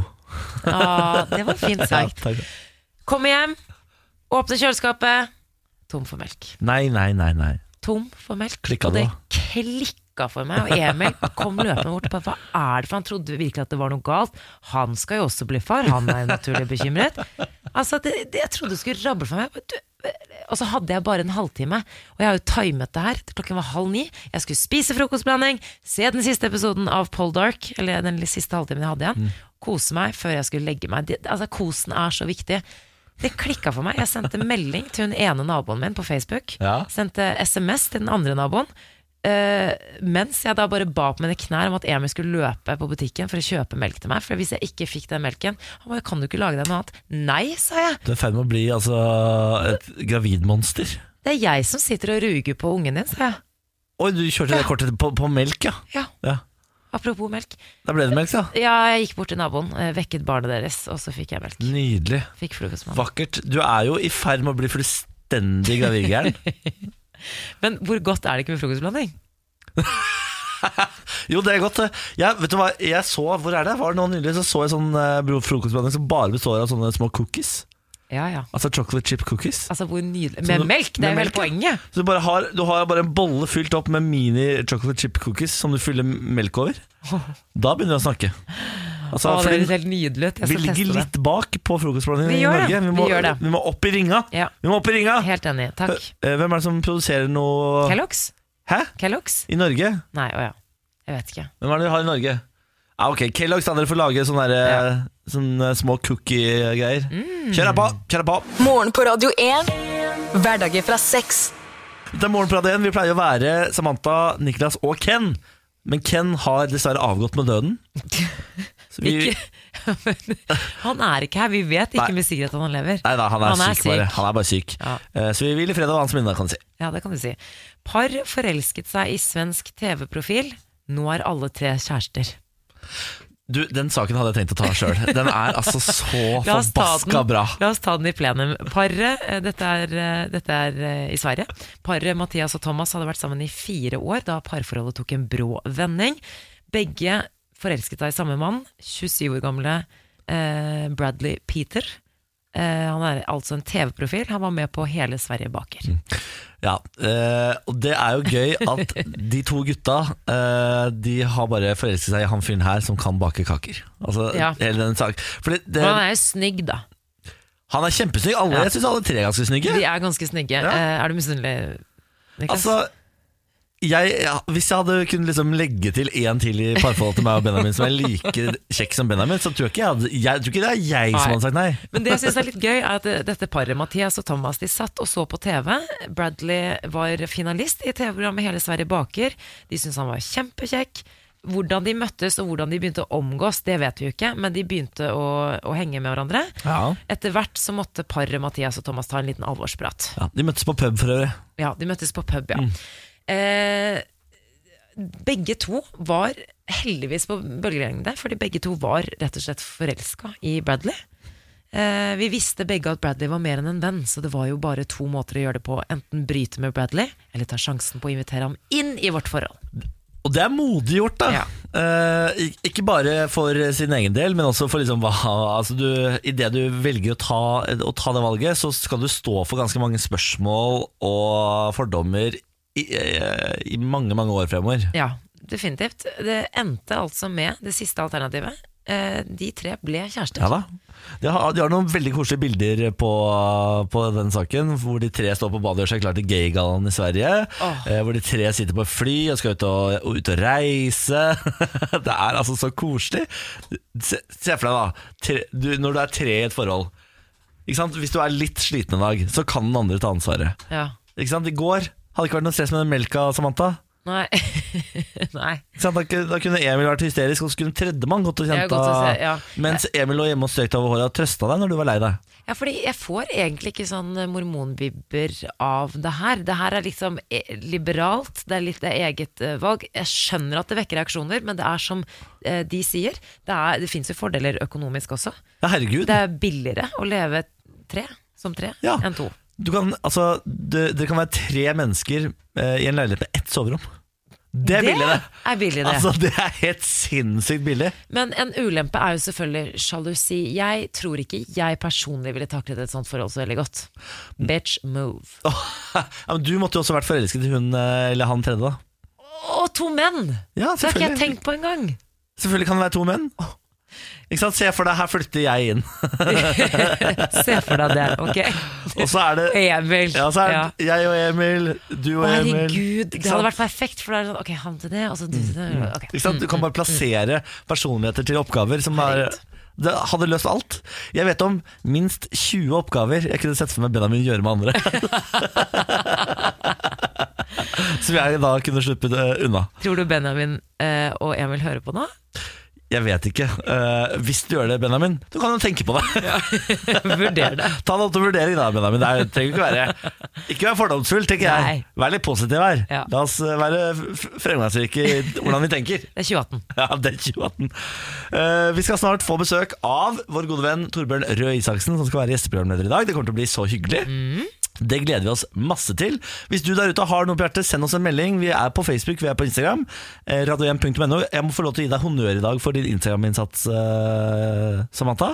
S4: Ah, det var fint
S1: Ja,
S4: sagt.
S1: takk.
S4: Kommer hjem, åpner kjøleskapet, tom for melk.
S1: Nei, nei, nei, nei.
S4: tom for melk.
S1: Klikka
S4: og
S1: det
S4: det klikka for meg. Og Emil kom løpende bort. og bare, Hva er det for Han trodde virkelig at det var noe galt. Han skal jo også bli far. Han er jo naturlig bekymret. Altså, det, det, Jeg trodde det skulle rable for meg. Du, og så hadde jeg bare en halvtime. Og jeg har jo timet det her. Klokken var halv ni. Jeg skulle spise frokostblanding, se den siste episoden av Poldark, eller den siste halvtimen jeg hadde igjen, kose meg før jeg skulle legge meg. Det, altså, kosen er så viktig. Det klikka for meg. Jeg sendte melding til hun ene naboen min på Facebook.
S1: Ja.
S4: Sendte SMS til den andre naboen. eh, mens jeg da bare ba på mine knær om at Emil skulle løpe på butikken for å kjøpe melk til meg. For hvis jeg ikke fikk den melken Han bare 'Kan du ikke lage deg noe annet?' Nei, sa jeg.
S1: Du er i ferd med å bli altså, et gravidmonster.
S4: Det er jeg som sitter og ruger på ungen din, sa jeg.
S1: Oi, du kjørte det kortet på, på melk, ja.
S4: Ja,
S1: ja.
S4: apropos melk.
S1: Da ble det melk, da.
S4: Ja, jeg gikk bort til naboen, eh, vekket barnet deres, og så fikk jeg melk.
S1: Nydelig.
S4: Fikk frokostmann.
S1: Vakkert. Du er jo i ferd med å bli fullstendig gravidgæren.
S4: Men hvor godt er det ikke med frokostblanding?
S1: Jo, det er godt. det. Jeg, vet du hva, jeg så, hvor er det? Var det nå nylig så så jeg sånn eh, bro- frokostblanding som bare består av sånne små cookies.
S4: Ja, ja.
S1: Altså chocolate chip cookies.
S4: Altså, hvor nydelig
S1: Så
S4: Med
S1: du-
S4: melk, det er
S1: med
S4: jo hele
S1: melk,
S4: poenget.
S1: Så du, bare har, du har bare en bolle fylt opp med mini chocolate chip cookies som du fyller melk over. Da begynner vi å snakke. Altså,
S4: Å, det
S1: fordi
S4: høres helt nydelig ut. Jeg
S1: vi
S4: skal
S1: ligger
S4: teste det.
S1: litt bak på frokostblandingen
S4: Vi
S1: i
S4: gjør det.
S1: Norge.
S4: Vi
S1: må,
S4: gjør det.
S1: vi må opp i ringa!
S4: Ja.
S1: Vi må opp i ringa!
S4: Helt enig. Takk.
S1: Eh, Hvem er det som produserer noe
S4: Kellogg's?
S1: Hæ?
S4: Kellogg's?
S1: I Norge?
S4: Nei, å ja. Jeg vet ikke.
S1: Hvem er det vi har i Norge? Ah, ok, Kellogg's da, dere får lage sånne, der, eh, sånne små cookie-greier.
S4: Mm.
S1: Kjør deg på! Kjør deg på!
S8: Morgen på Radio 1. Hverdager fra seks.
S1: Det er Morgenprat 1. Vi pleier å være Samantha, Niklas og Ken. Men Ken har dessverre avgått med døden. Så vi,
S4: Ikke- Han er ikke her. Vi vet ikke
S1: Nei.
S4: med sikkerhet at han lever.
S1: nei da, han er,
S4: Han er
S1: syk, bare.
S4: syk.
S1: Han er bare syk.
S4: Ja.
S1: Eh, Så vi vil i fredag ha hans minne, kan du si.
S4: Ja, det kan du si. Par forelsket seg i svensk TV-profil. Nå er alle tre kjærester.
S1: Du, Den saken hadde jeg tenkt å ta sjøl. Den er altså så
S4: La oss ta den.
S1: forbaska bra.
S4: La oss ta den i plenum. Paret, eh, dette er, eh, dette er eh, i Sverige. Paret Mathias og Thomas hadde vært sammen i fire år da parforholdet tok en brå vending. Begge forelsket seg i samme mann, 27 år gamle eh, Bradley Peter. Eh, han er altså en TV-profil. Han var med på Hele Sverige baker.
S1: Ja, eh, og det er jo gøy at de to gutta eh, De har bare forelsket seg i han fyren her som kan bake kaker. Altså,
S4: Ja.
S1: hele den sak. Fordi det,
S4: Men han er jo snygg, da.
S1: Han er kjempesnygg. Alle,
S4: Ja.
S1: Jeg syns alle tre er ganske snygge.
S4: De er ganske snygge. Eh, er du misunnelig, Niklas?
S1: Altså jeg, ja, Hvis jeg hadde kunnet liksom legge til en til i parforholdet til meg og Benjamin som er like kjekk som Benjamin, så tror jeg ikke, jeg hadde, jeg, tror ikke det er jeg
S4: Nei.
S1: som hadde sagt nei.
S4: Men det jeg synes er litt gøy, er at eh, dette paret, Mathias og Thomas, de satt og så på TV. Bradley var finalist i TV-programmet Hele Sverige baker. De syntes han var kjempekjekk. Hvordan de møttes og hvordan de begynte å omgås, det vet vi jo ikke, men de begynte å, å henge med hverandre.
S1: Ja.
S4: Etter hvert så måtte paret Mathias og Thomas ta en liten alvorsprat.
S1: Ja, de møttes på pub for øvrig.
S4: Ja, de møttes på pub, ja.
S1: Mm.
S4: Eh, begge to var heldigvis på bølgelengde, fordi begge to var rett og slett forelska i Bradley. Eh, vi visste begge at Bradley var mer enn en venn, så det var jo bare to måter å gjøre det på. Enten bryte med Bradley, eller ta sjansen på å invitere ham inn i vårt forhold.
S1: Og det er modig gjort, da.
S4: Ja.
S1: Eh, ik- ikke bare for sin egen del, men også for liksom hva altså du, I det du velger å ta, å ta det valget, så skal du stå for ganske mange spørsmål og fordommer i, eh, i mange, mange år fremover.
S4: Ja, definitivt. Det endte altså med det siste alternativet. Eh, de tre ble kjærester.
S1: Ja da. De har, de har noen veldig koselige bilder på, på den saken, hvor de tre står på badet og gjør seg klar til Gaygallaen i Sverige.
S4: Åh.
S1: Eh, hvor de tre sitter på fly og skal ut og, og, ut og reise. det er altså så koselig. Se, se for deg, da. Tre, du, når du er tre i et forhold. Ikke sant? Hvis du er litt sliten en dag, så kan den andre ta ansvaret.
S4: Ja.
S1: Ikke sant? I går hadde det ikke vært noe stress med den melka, Samantha.
S4: Nei. Nei.
S1: Ikke sant? Da, ku- da kunne Emil vært hysterisk, og så kunne tredjemann gått og
S4: Ja,
S1: kjent
S4: godt å se, ja.
S1: Mens Emil lå hjemme og strøk deg over håret og trøsta deg når du var lei deg.
S4: Ja, fordi jeg får egentlig ikke sånn eh, mormonbibber av det her. Det her er liksom eh, liberalt, det er litt det er eget eh, valg. Jeg skjønner at det vekker reaksjoner, men det er som eh, de sier. Det, er, det fins jo fordeler økonomisk også.
S1: Ja, herregud.
S4: Det er billigere å leve tre som tre
S1: Ja.
S4: enn to.
S1: Du kan, altså, det, det kan være tre mennesker eh, i en leilighet med ett soverom. Det er billig, det!
S4: er billig, det.
S1: Altså, det er helt sinnssykt billig.
S4: Men en ulempe er jo selvfølgelig sjalusi. Jeg tror ikke jeg personlig ville taklet et sånt forhold så veldig godt. Bitch move.
S1: Mm. Åh, ja, men du måtte jo også vært forelsket i hun eh, eller han tredje, da.
S4: Å, to menn!
S1: Ja,
S4: Det har ikke jeg
S1: selvfølgelig.
S4: tenkt på engang.
S1: Selvfølgelig kan det være to menn. Ikke sant? Se for deg, her flytter jeg inn.
S4: Se for deg det, ok?
S1: Og så er det,
S4: Emil.
S1: ja, så er
S4: Ja.
S1: det jeg og Emil, du og Emil.
S4: Herregud, det
S1: sant? Mm.
S4: hadde vært perfekt. For da er det sånn, ok, han til det, og så du til det. ok.
S1: Ikke sant? Du kan bare plassere personligheter til oppgaver som er
S4: Herregud.
S1: det hadde løst alt. Jeg vet om minst 20 oppgaver jeg kunne sett for meg Benjamin gjøre med andre. Som jeg da kunne sluppet eh, unna.
S4: Tror du Benjamin eh, og Emil hører på nå?
S1: Jeg vet ikke. Eh, hvis du gjør det, Benjamin, du kan jo tenke på det.
S4: Vurder det.
S1: Ta det opp til vurdering da, Benjamin. Det er- trenger ikke være Ikke vær fordomsfull, tenker jeg.
S4: Nei.
S1: Vær litt positiv her.
S4: Ja.
S1: La oss eh, være f- fremgangsrike i hvordan vi tenker.
S4: Det er 2018.
S1: Ja, det er 2018. Eh, vi skal snart få besøk av vår gode venn Torbjørn Røe Isaksen, som skal være gjesteprogramleder i dag. Det kommer til å bli så hyggelig. Det gleder vi oss masse til. Hvis du der ute har noe på hjertet, send oss en melding. Vi er på Facebook, vi er på Instagram. eh, Radio1.no. Jeg må få lov til å gi deg honnør i dag for din Instagram-innsats, eh, Samantha.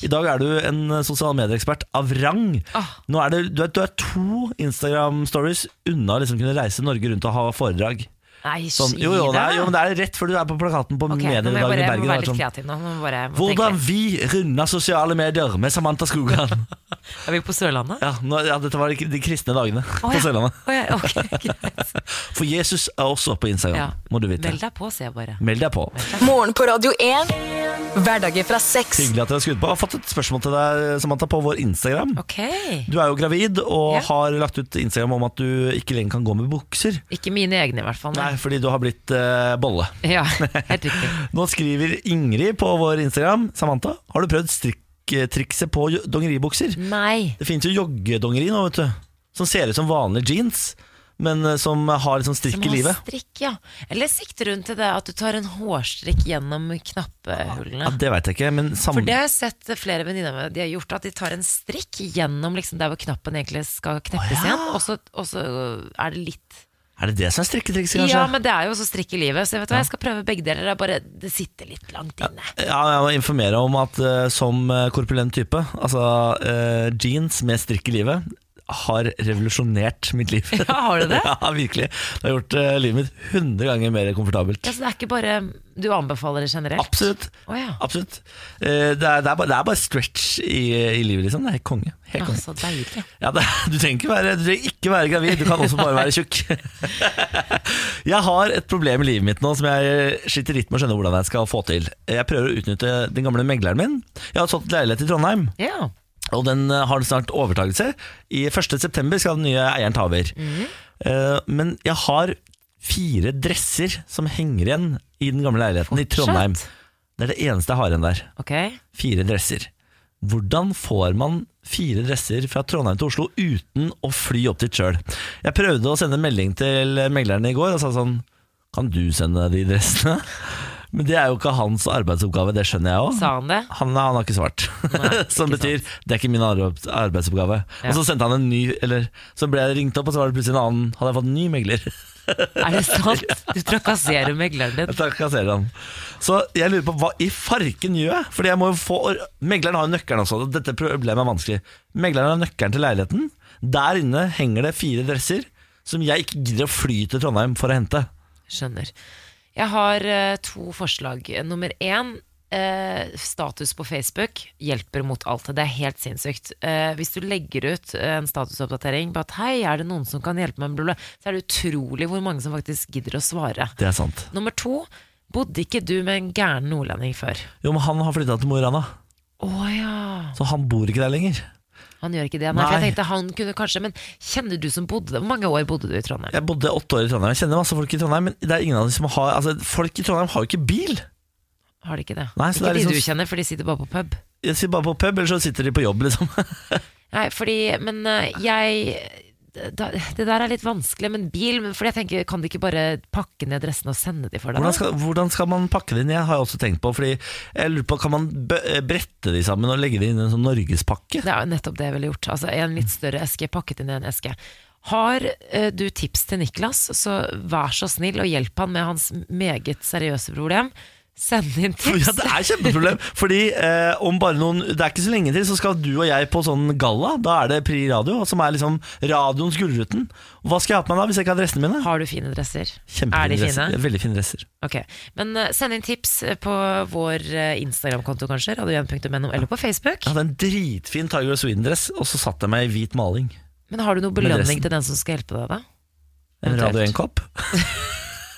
S1: I dag er du en sosiale medieekspert av rang.
S4: Ah.
S1: Nå er det, du, er, du er to Instagram-stories unna å liksom kunne reise Norge rundt og ha foredrag.
S4: Nei, gi
S1: Sånn, jo, jo, det er, jo, men det er rett før du er på plakaten på
S4: Ok, nå må jeg
S1: mediedagen
S4: bare-
S1: i
S4: jeg må
S1: Bergen.
S4: være
S1: det er
S4: litt
S1: sånn,
S4: kreativ nå. nå må bare, jeg må
S1: Hvordan
S4: tenke.
S1: vi runder sosiale medier med Samantha Skogran.
S4: Er vi på Sørlandet?
S1: Ja, nå, ja, dette var de, de kristne dagene
S4: Å,
S1: på
S4: ja.
S1: Sørlandet.
S4: Å, ja, ok, greit.
S1: For Jesus er også på Instagram,
S4: Ja.
S1: må du vite.
S4: Meld deg på, sier jeg bare.
S1: Meld deg på.
S8: Morgen på Radio 1. Hverdager fra seks.
S1: Hyggelig at dere har skrudd på. Jeg har fått et spørsmål til deg, Samantha, på vår Instagram.
S4: Ok.
S1: Du er jo gravid og
S4: Ja.
S1: har lagt ut Instagram om at du ikke lenger kan gå med bukser.
S4: Ikke mine egne, i hvert fall.
S1: Nei, fordi du har blitt eh, bolle.
S4: Ja, helt riktig.
S1: Nå skriver Ingrid på vår Instagram. Samantha, har du prøvd strikketrikset på jo- dongeribukser?
S4: Nei.
S1: Det finnes jo joggedongeri nå, vet du. Som ser ut som vanlige jeans, men eh, som har liksom
S4: Du
S1: strikk
S4: må
S1: i
S4: ha
S1: livet.
S4: Strikk, ja. Eller sikter hun til det at du tar en hårstrikk gjennom knappehullene?
S1: Ja, det veit jeg ikke, men
S4: For
S1: sam
S4: det har jeg sett flere venninner av meg de har gjort, at de tar en strikk gjennom liksom der hvor knappen egentlig skal kneppes igjen, og så, og så er det litt
S1: er det det som er strikketrikset, kanskje?
S4: Ja, men det er jo så strikk i livet, så jeg vet hva, jeg skal prøve begge deler. Det, er bare, det sitter litt langt inne.
S1: Ja, jeg må informere om at eh, som eh, korpulent type, altså eh, jeans med strikk i livet, har revolusjonert mitt liv.
S4: Ja, har du det?
S1: ja, virkelig. Det har gjort eh, livet mitt 100 ganger mer komfortabelt.
S4: Ja, så det er ikke bare Du anbefaler det generelt?
S1: Absolutt.
S4: Å ja.
S1: Absolutt. Eh, det, er, det, er bare, det er bare stretch i, i livet, liksom. Det er helt konge. Helt
S4: Å,
S1: konge.
S4: Ah, så deilig.
S1: Ja, det, du trenger ikke være, du trenger ikke være gravid, du kan også bare være tjukk. Jeg har et problem i livet mitt nå som jeg sliter litt med å skjønne hvordan jeg skal få til. Jeg prøver å utnytte den gamle megleren min. Jeg har solgt leilighet i Trondheim,
S4: Ja.
S1: og den eh, har snart overtakelse. I 1. september skal den nye eieren ta over. Eh, Men jeg har fire dresser som henger igjen i den gamle leiligheten i Trondheim. Det er det eneste jeg har igjen der.
S4: Ok.
S1: Fire dresser. Hvordan får man fire dresser fra Trondheim til Oslo uten å fly opp dit sjøl? Jeg prøvde å sende en melding til meglerne i går og sa sånn Kan du sende de dressene? Men det er jo ikke hans arbeidsoppgave, det skjønner jeg òg.
S4: Sa han det?
S1: Han, han har ikke svart. som betyr det er ikke min arbe- arbeidsoppgave.
S4: Ja.
S1: Og så sendte han en ny, eller så ble jeg ringt opp, og så var det plutselig en annen. Hadde jeg fått en ny megler?
S4: Er det sant? Du trakasserer megleren din.
S1: Jeg trakasserer han. Så jeg lurer på hva i farken gjør jeg? Fordi jeg må jo få Megleren har jo nøkkelen også. og Dette problemet er vanskelig. Megleren har nøkkelen til leiligheten. Der inne henger det fire dresser som jeg ikke gidder å fly til Trondheim for å hente.
S4: Skjønner. Jeg har eh, to forslag. Nummer én eh, status på Facebook hjelper mot alt. Det er helt sinnssykt. Eh, hvis du legger ut eh, en statusoppdatering på at 'hei, er det noen som kan hjelpe meg', med bla, bla, så er det utrolig hvor mange som faktisk gidder å svare.
S1: Det er sant.
S4: Nummer to bodde ikke du med en gæren nordlending før?
S1: Jo, men han har flytta til Mo i Rana,
S4: Å ja.
S1: så han bor ikke der lenger.
S4: Han gjør ikke det. Nei, for jeg
S1: Nei.
S4: tenkte han kunne kanskje Men kjenner du som bodde der? Hvor mange år bodde du i Trondheim?
S1: Jeg bodde åtte år i Trondheim. Jeg kjenner masse folk i Trondheim, men det er ingen av dem som har Altså, folk i Trondheim har jo ikke bil.
S4: Har de ikke det?
S1: Nei, så
S4: ikke
S1: det er liksom-
S4: de du kjenner, for de sitter bare på pub.
S1: Jeg sitter bare på pub, eller så sitter de på jobb, liksom.
S4: Nei, fordi, men eh, jeg da, Det der er litt vanskelig, men bil men fordi jeg tenker, Kan de ikke bare pakke ned dressene og sende de for deg? da?
S1: Hvordan skal, hvordan skal man pakke det inn? Jeg har jeg også tenkt på, fordi jeg lurer på, kan man bø- eh, brette de sammen og legge det inn i en sånn norgespakke?
S4: Det er jo nettopp det jeg ville gjort. Altså En litt større eske pakket inn i en eske. Har eh, du tips til Niklas, så vær så snill og hjelp han med hans meget seriøse problem. Send inn tips.
S1: Ja, det er et kjempeproblem, fordi eh, om bare noen, det er ikke så lenge til, så skal du og jeg på sånn galla, da er det Pri Radio, som er liksom radioens gullruten. Hva skal jeg ha på meg da, hvis jeg ikke har dressene mine?
S4: Har du fine dresser?
S1: Kjempefine
S4: er de
S1: dresser.
S4: fine?
S1: Ja, Veldig fine dresser.
S4: Ok, Men eh, send inn tips eh, på vår eh, Instagram-konto, kanskje, radio1.no, eller på Facebook.
S1: Jeg hadde en dritfin Tiger of Sweden-dress, og så satt jeg meg i hvit maling.
S4: Men har du noe
S1: Med
S4: belønning
S1: dressen.
S4: til den som skal hjelpe deg, da?
S1: En
S4: Eventuelt.
S1: Radio 1-kopp.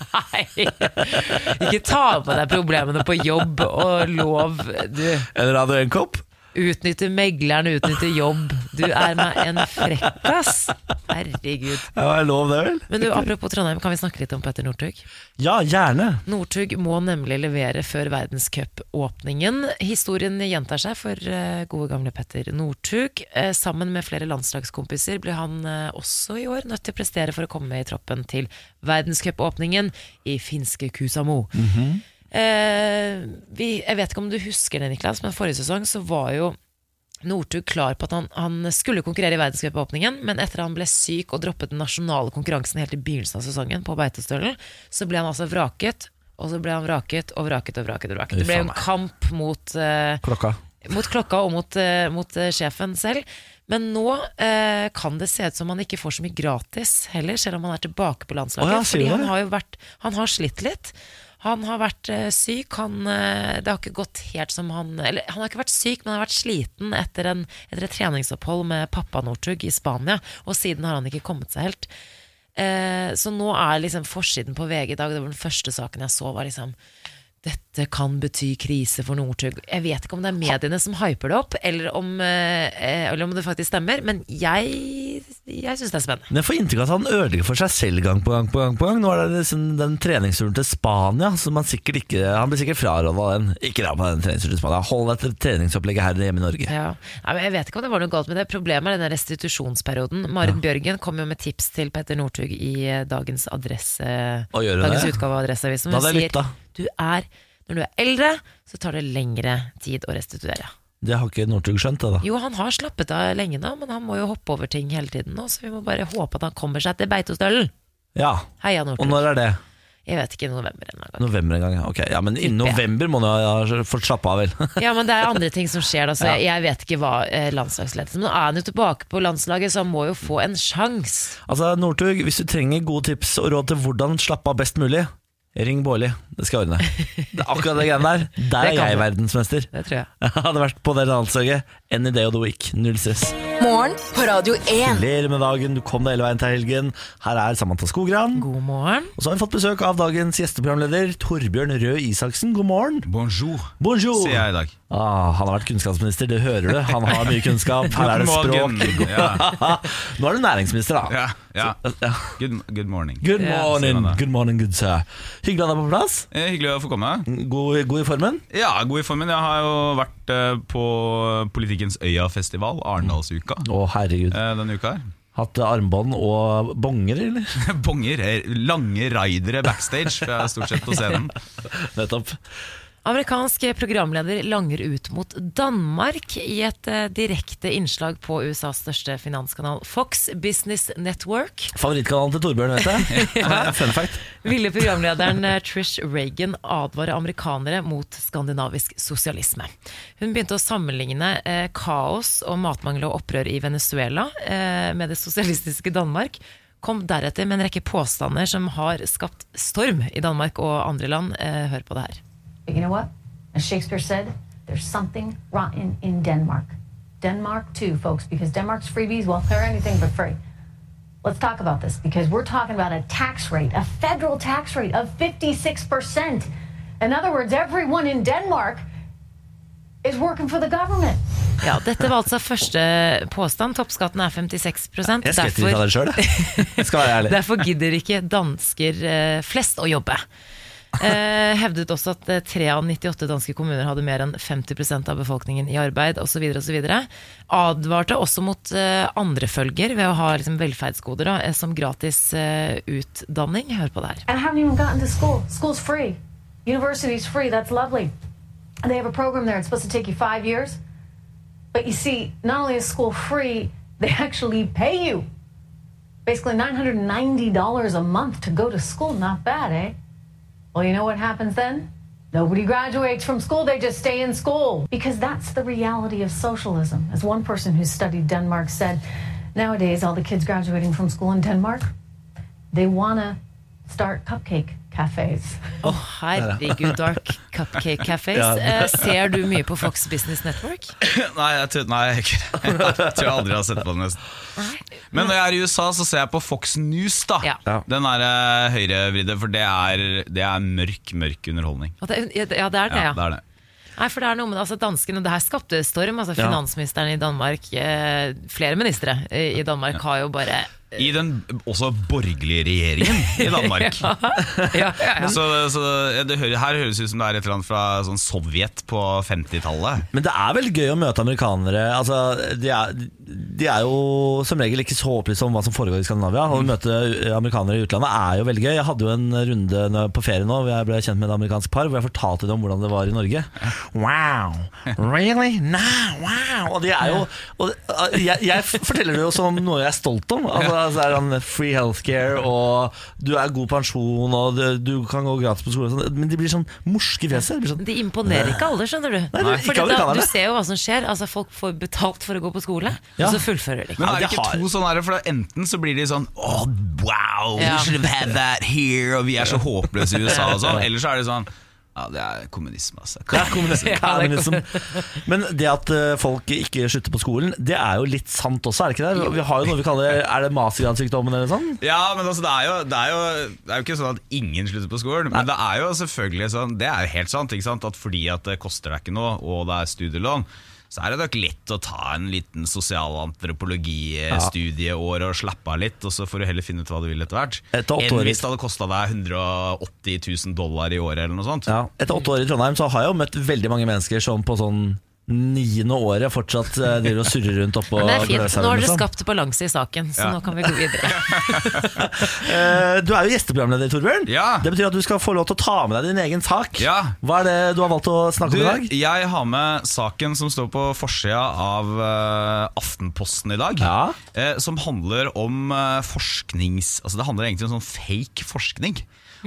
S4: Nei, ikke ta på deg problemene på jobb og lov. Du
S1: En Radio 1-kopp.
S4: utnytter megleren, utnytter jobb. Du er meg en frekkas. Herregud.
S1: Ja, jeg lov det vel?
S4: Men du, apropos Trondheim, kan vi snakke litt om Petter Northug?
S1: Ja, gjerne.
S4: Northug må nemlig levere før verdenscupåpningen. Historien gjentar seg for eh, gode gamle Petter Northug. Eh, sammen med flere landslagskompiser ble han eh, også i år nødt til å prestere for å komme med i troppen til verdenscupåpningen i finske Kusamo. Eh, vi, jeg vet ikke om du husker det, Niklas, men forrige sesong så var jo Northug klar på at han, han skulle konkurrere i verdenscupåpningen, men etter han ble syk og droppet den nasjonale konkurransen helt i begynnelsen av sesongen, på Beitostølen, så ble han altså vraket, og så ble han vraket og vraket og vraket. og vraket. Det ble jo en kamp mot eh,
S1: Klokka.
S4: mot klokka og mot, eh, mot eh, sjefen selv. Men nå eh, kan det se ut som han ikke får så mye gratis heller, selv om han er tilbake på landslaget.
S1: Å ja, sier
S4: fordi
S1: du
S4: han
S1: det?
S4: har jo vært Han har slitt litt. Han har vært eh, syk. Han, eh, det har ikke gått helt som han Eller han har ikke vært syk, men han har vært sliten etter, en, etter et treningsopphold med pappa Northug i Spania. Og siden har han ikke kommet seg helt. Eh, så nå er liksom forsiden på VG i dag, det var den første saken jeg så, var liksom dette kan bety krise for Northug. Jeg vet ikke om det er mediene som hyper det opp, eller om, eh, eh, eller om det faktisk stemmer, men jeg, jeg syns det er spennende.
S1: Men jeg får inntrykk av at han ødelegger for seg selv gang på gang på gang. på gang Nå er det liksom den treningsturen til Spania som han sikkert ikke Han blir sikkert frarådet av den. Ikke dra på den treningsturen til Spania. Hold deg til treningsopplegget her hjemme i Norge.
S4: Ja. Nei, men jeg vet ikke om det var noe galt med det. Problemet er denne restitusjonsperioden. Marit Bjørgen kom jo med tips til Petter Northug i eh, dagens adresse
S1: Og gjør hun
S4: Dagens
S1: det?
S4: utgave av Adresseavisen.
S1: Da
S4: Hun
S1: hadde jeg
S4: sier
S1: lytta.
S4: du er, når du er eldre, så tar det lengre tid å restituere.
S1: Det har ikke Northug skjønt, det da.
S4: Jo, han har slappet av lenge nå, men han må jo hoppe over ting hele tiden nå, så vi må bare håpe at han kommer seg til Beitostølen.
S1: Ja.
S4: Heia
S1: Og
S4: Northug.
S1: når er det?
S4: Jeg vet ikke, november en eller annen gang.
S1: November en gang, ja. Ok, ja, Men innen
S4: Tipper jeg.
S1: november må han jo ha fått slappe av, vel.
S4: Ja, men det er andre ting som skjer da, så jeg, jeg vet ikke hva eh, landslagsledelsen Men nå er han jo tilbake på landslaget, så han må jo få en sjanse.
S1: Altså, Northug, hvis du trenger gode tips og råd til hvordan slappe av best mulig, ring Bårli. Det skal jeg ordne. Det er akkurat det greiene der. Der
S4: Det
S1: er
S4: kan
S1: jeg
S4: du.
S1: verdensmester.
S4: Det tror jeg.
S1: Jeg hadde vært på det landslaget any day of the week. Null stress.
S8: Morgen på Radio 1.
S1: Gratulerer med dagen, du kom deg hele veien til helgen. Her er Samantha Skogran.
S4: God morgen.
S1: Og så har vi fått besøk av dagens gjesteprogramleder Torbjørn Røe Isaksen. God morgen.
S10: Bonjour,
S1: Bonjour.
S10: sier jeg i dag.
S1: Ah, han har vært kunnskapsminister, det hører du. Han har mye kunnskap. Her er det
S10: Morgen.
S1: språk.
S10: Ja,
S1: Nå er du næringsminister, da. eh,
S10: ja, ja.
S1: Ja.
S10: Good, good morning.
S1: Good
S4: Ja.
S1: morning,
S10: Sier han det.
S1: good morning, good sir. Hyggelig å ha deg på plass.
S10: Eh, Hyggelig å få komme.
S1: God, god i formen.
S10: Ja, god i formen. Jeg har jo vært eh, på Politikkens Øya-festival, Arendalsuka,
S1: Å, herregud.
S10: eh, denne uka her.
S1: Hatt armbånd og bonger, eller?
S10: Bonger, eh, lange raidere backstage, for jeg er stort sett på scenen.
S1: Nettopp.
S4: Amerikansk programleder langer ut mot Danmark i et eh, direkte innslag på USAs største finanskanal Fox Business Network.
S1: Favorittkanalen til Torbjørn, vet jeg. Fun fact.
S4: Ville programlederen eh, Trish Reagan advare amerikanere mot skandinavisk sosialisme. Hun begynte å sammenligne eh, kaos og matmangel og opprør i Venezuela eh, med det sosialistiske Danmark. Kom deretter med en rekke påstander som har skapt storm i Danmark og andre land. Eh, hør på det her.
S11: You know what? As Shakespeare said, there's something rotten in Denmark. Denmark, too, folks, because Denmark's freebies, well, they're anything but free. Let's talk about this because we're talking about a tax rate, a federal tax rate of 56%. In other words, everyone in Denmark is working for the government.
S4: Ja, dette var altså første påstand. Toppskatten er 56
S1: Jeg skvetter litt av det sjøl, jeg. Skal være ærlig.
S4: Derfor gidder ikke dansker eh, flest å jobbe. Eh, hevdet også at eh, tre av 98 danske kommuner hadde mer enn 50 av befolkningen i arbeid osv. Advarte også mot eh, andre følger ved å ha liksom, velferdsgoder da, eh, som gratis eh, utdanning. Hør på det her.
S11: and I haven't even gotten to school. School's free. University's free. That's lovely. And they have a program there. It's supposed to take you five years. But you see, not only is school free, they actually pay you. Basically $990 a month to go to school. Not bad, eh? Well, you know what happens then? Nobody graduates from school, they just stay in school. Because that's the reality of socialism. As one person who studied Denmark said, nowadays, all the kids graduating from school in Denmark, they want to start cupcake cafes.
S4: Å, herregud, Dark Cupcake Cafes. Eh, ser du mye på Fox Business Network?
S10: Nei, jeg tror, nei, jeg, ikke- jeg tror jeg aldri har sett på den nesten. Men når jeg er i USA, så ser jeg på Fox News, da.
S4: Ja.
S1: Ja.
S10: Den er eh, høyrevridde, for det er, det er mørk, mørk underholdning.
S4: Og det- Ja, det er det, ja.
S10: Ja, det er det.
S4: Nei, for det er noe med altså, danskene, det her skapte storm. Altså,
S1: Ja.
S4: Finansministeren i Danmark, eh, flere ministre i i Danmark har jo bare
S10: I den også borgerlige regjeringen i Danmark. Så, så det hører, her høres det ut som det er et eller annet fra sånn Sovjet på 50-tallet.
S1: Men det er vel gøy å møte amerikanere. Altså, de, er, de er jo som regel ikke så opplyste om hva som foregår i Skandinavia. Og Å møte amerikanere i utlandet er jo veldig gøy. Jeg hadde jo en runde nå- på ferie nå hvor jeg ble kjent med et amerikansk par, hvor jeg fortalte dem hvordan det var i Norge. Wow! Really? Nah, wow! Og de er jo og, uh, jeg, jeg forteller det jo som noe jeg er stolt om. Altså, altså, er han Free healthcare, og du er god pensjon, og det- du kan gå gratis på skole. og sånn. Men de blir sånn morske i fjeset. De blir sånn,
S4: De imponerer ikke alle, skjønner du.
S1: Nei, det- ikke
S4: Fordi
S1: alle
S4: da,
S1: kan
S4: du
S1: det.
S4: ser jo hva som skjer. Altså, folk får betalt for å gå på skole, og så fullfører de ikke.
S10: Men er det ikke to sånne her, for da enten så blir de sånn Oh, wow,
S4: Ja.
S10: we should have had that here Og vi er så håpløse i USA og sånn Eller så er det sånn Ja, det er kommunisme, altså
S1: Det er kommunisme. Men det at eh, folk ikke slutter på skolen, det er jo litt sant også, er det ikke det? Vi har jo noe vi kaller Er det mastergradsykdommen eller noe sånt?
S10: Ja, men altså, det, er jo, det, er jo, det er jo ikke sånn at ingen slutter på skolen. Men det er jo selvfølgelig sånn, det er jo helt sant, ikke sant? at fordi at det koster deg ikke noe, og det er studielån, så er det nok lett å ta en liten sosialantropologistudieår og slappe av litt, og så får du heller finne ut hva du vil etter hvert.
S1: Etter åtte
S10: Enn
S1: år i-
S10: hvis det hadde kosta deg 180 000 dollar i året eller noe sånt.
S1: Ja. Etter åtte år i Trondheim så har jeg jo møtt veldig mange mennesker som på sånn niende året fortsatt eh, driver og surrer rundt oppå
S4: Men det er fint.
S1: Gløshaugen,
S4: Nå har dere
S1: liksom.
S4: skapt balanse i saken, så
S1: Ja.
S4: nå kan vi gå videre.
S1: Eh, Du er jo gjesteprogramleder, Torbjørn. Det betyr at du skal få lov til å ta med deg din egen sak.
S10: Ja.
S1: Hva er det du har valgt å snakke om i dag?
S10: Du, jeg har med saken som står på forsida av eh, Aftenposten i dag. eh, som handler om eh, forsknings... Altså det handler egentlig om sånn fake forskning.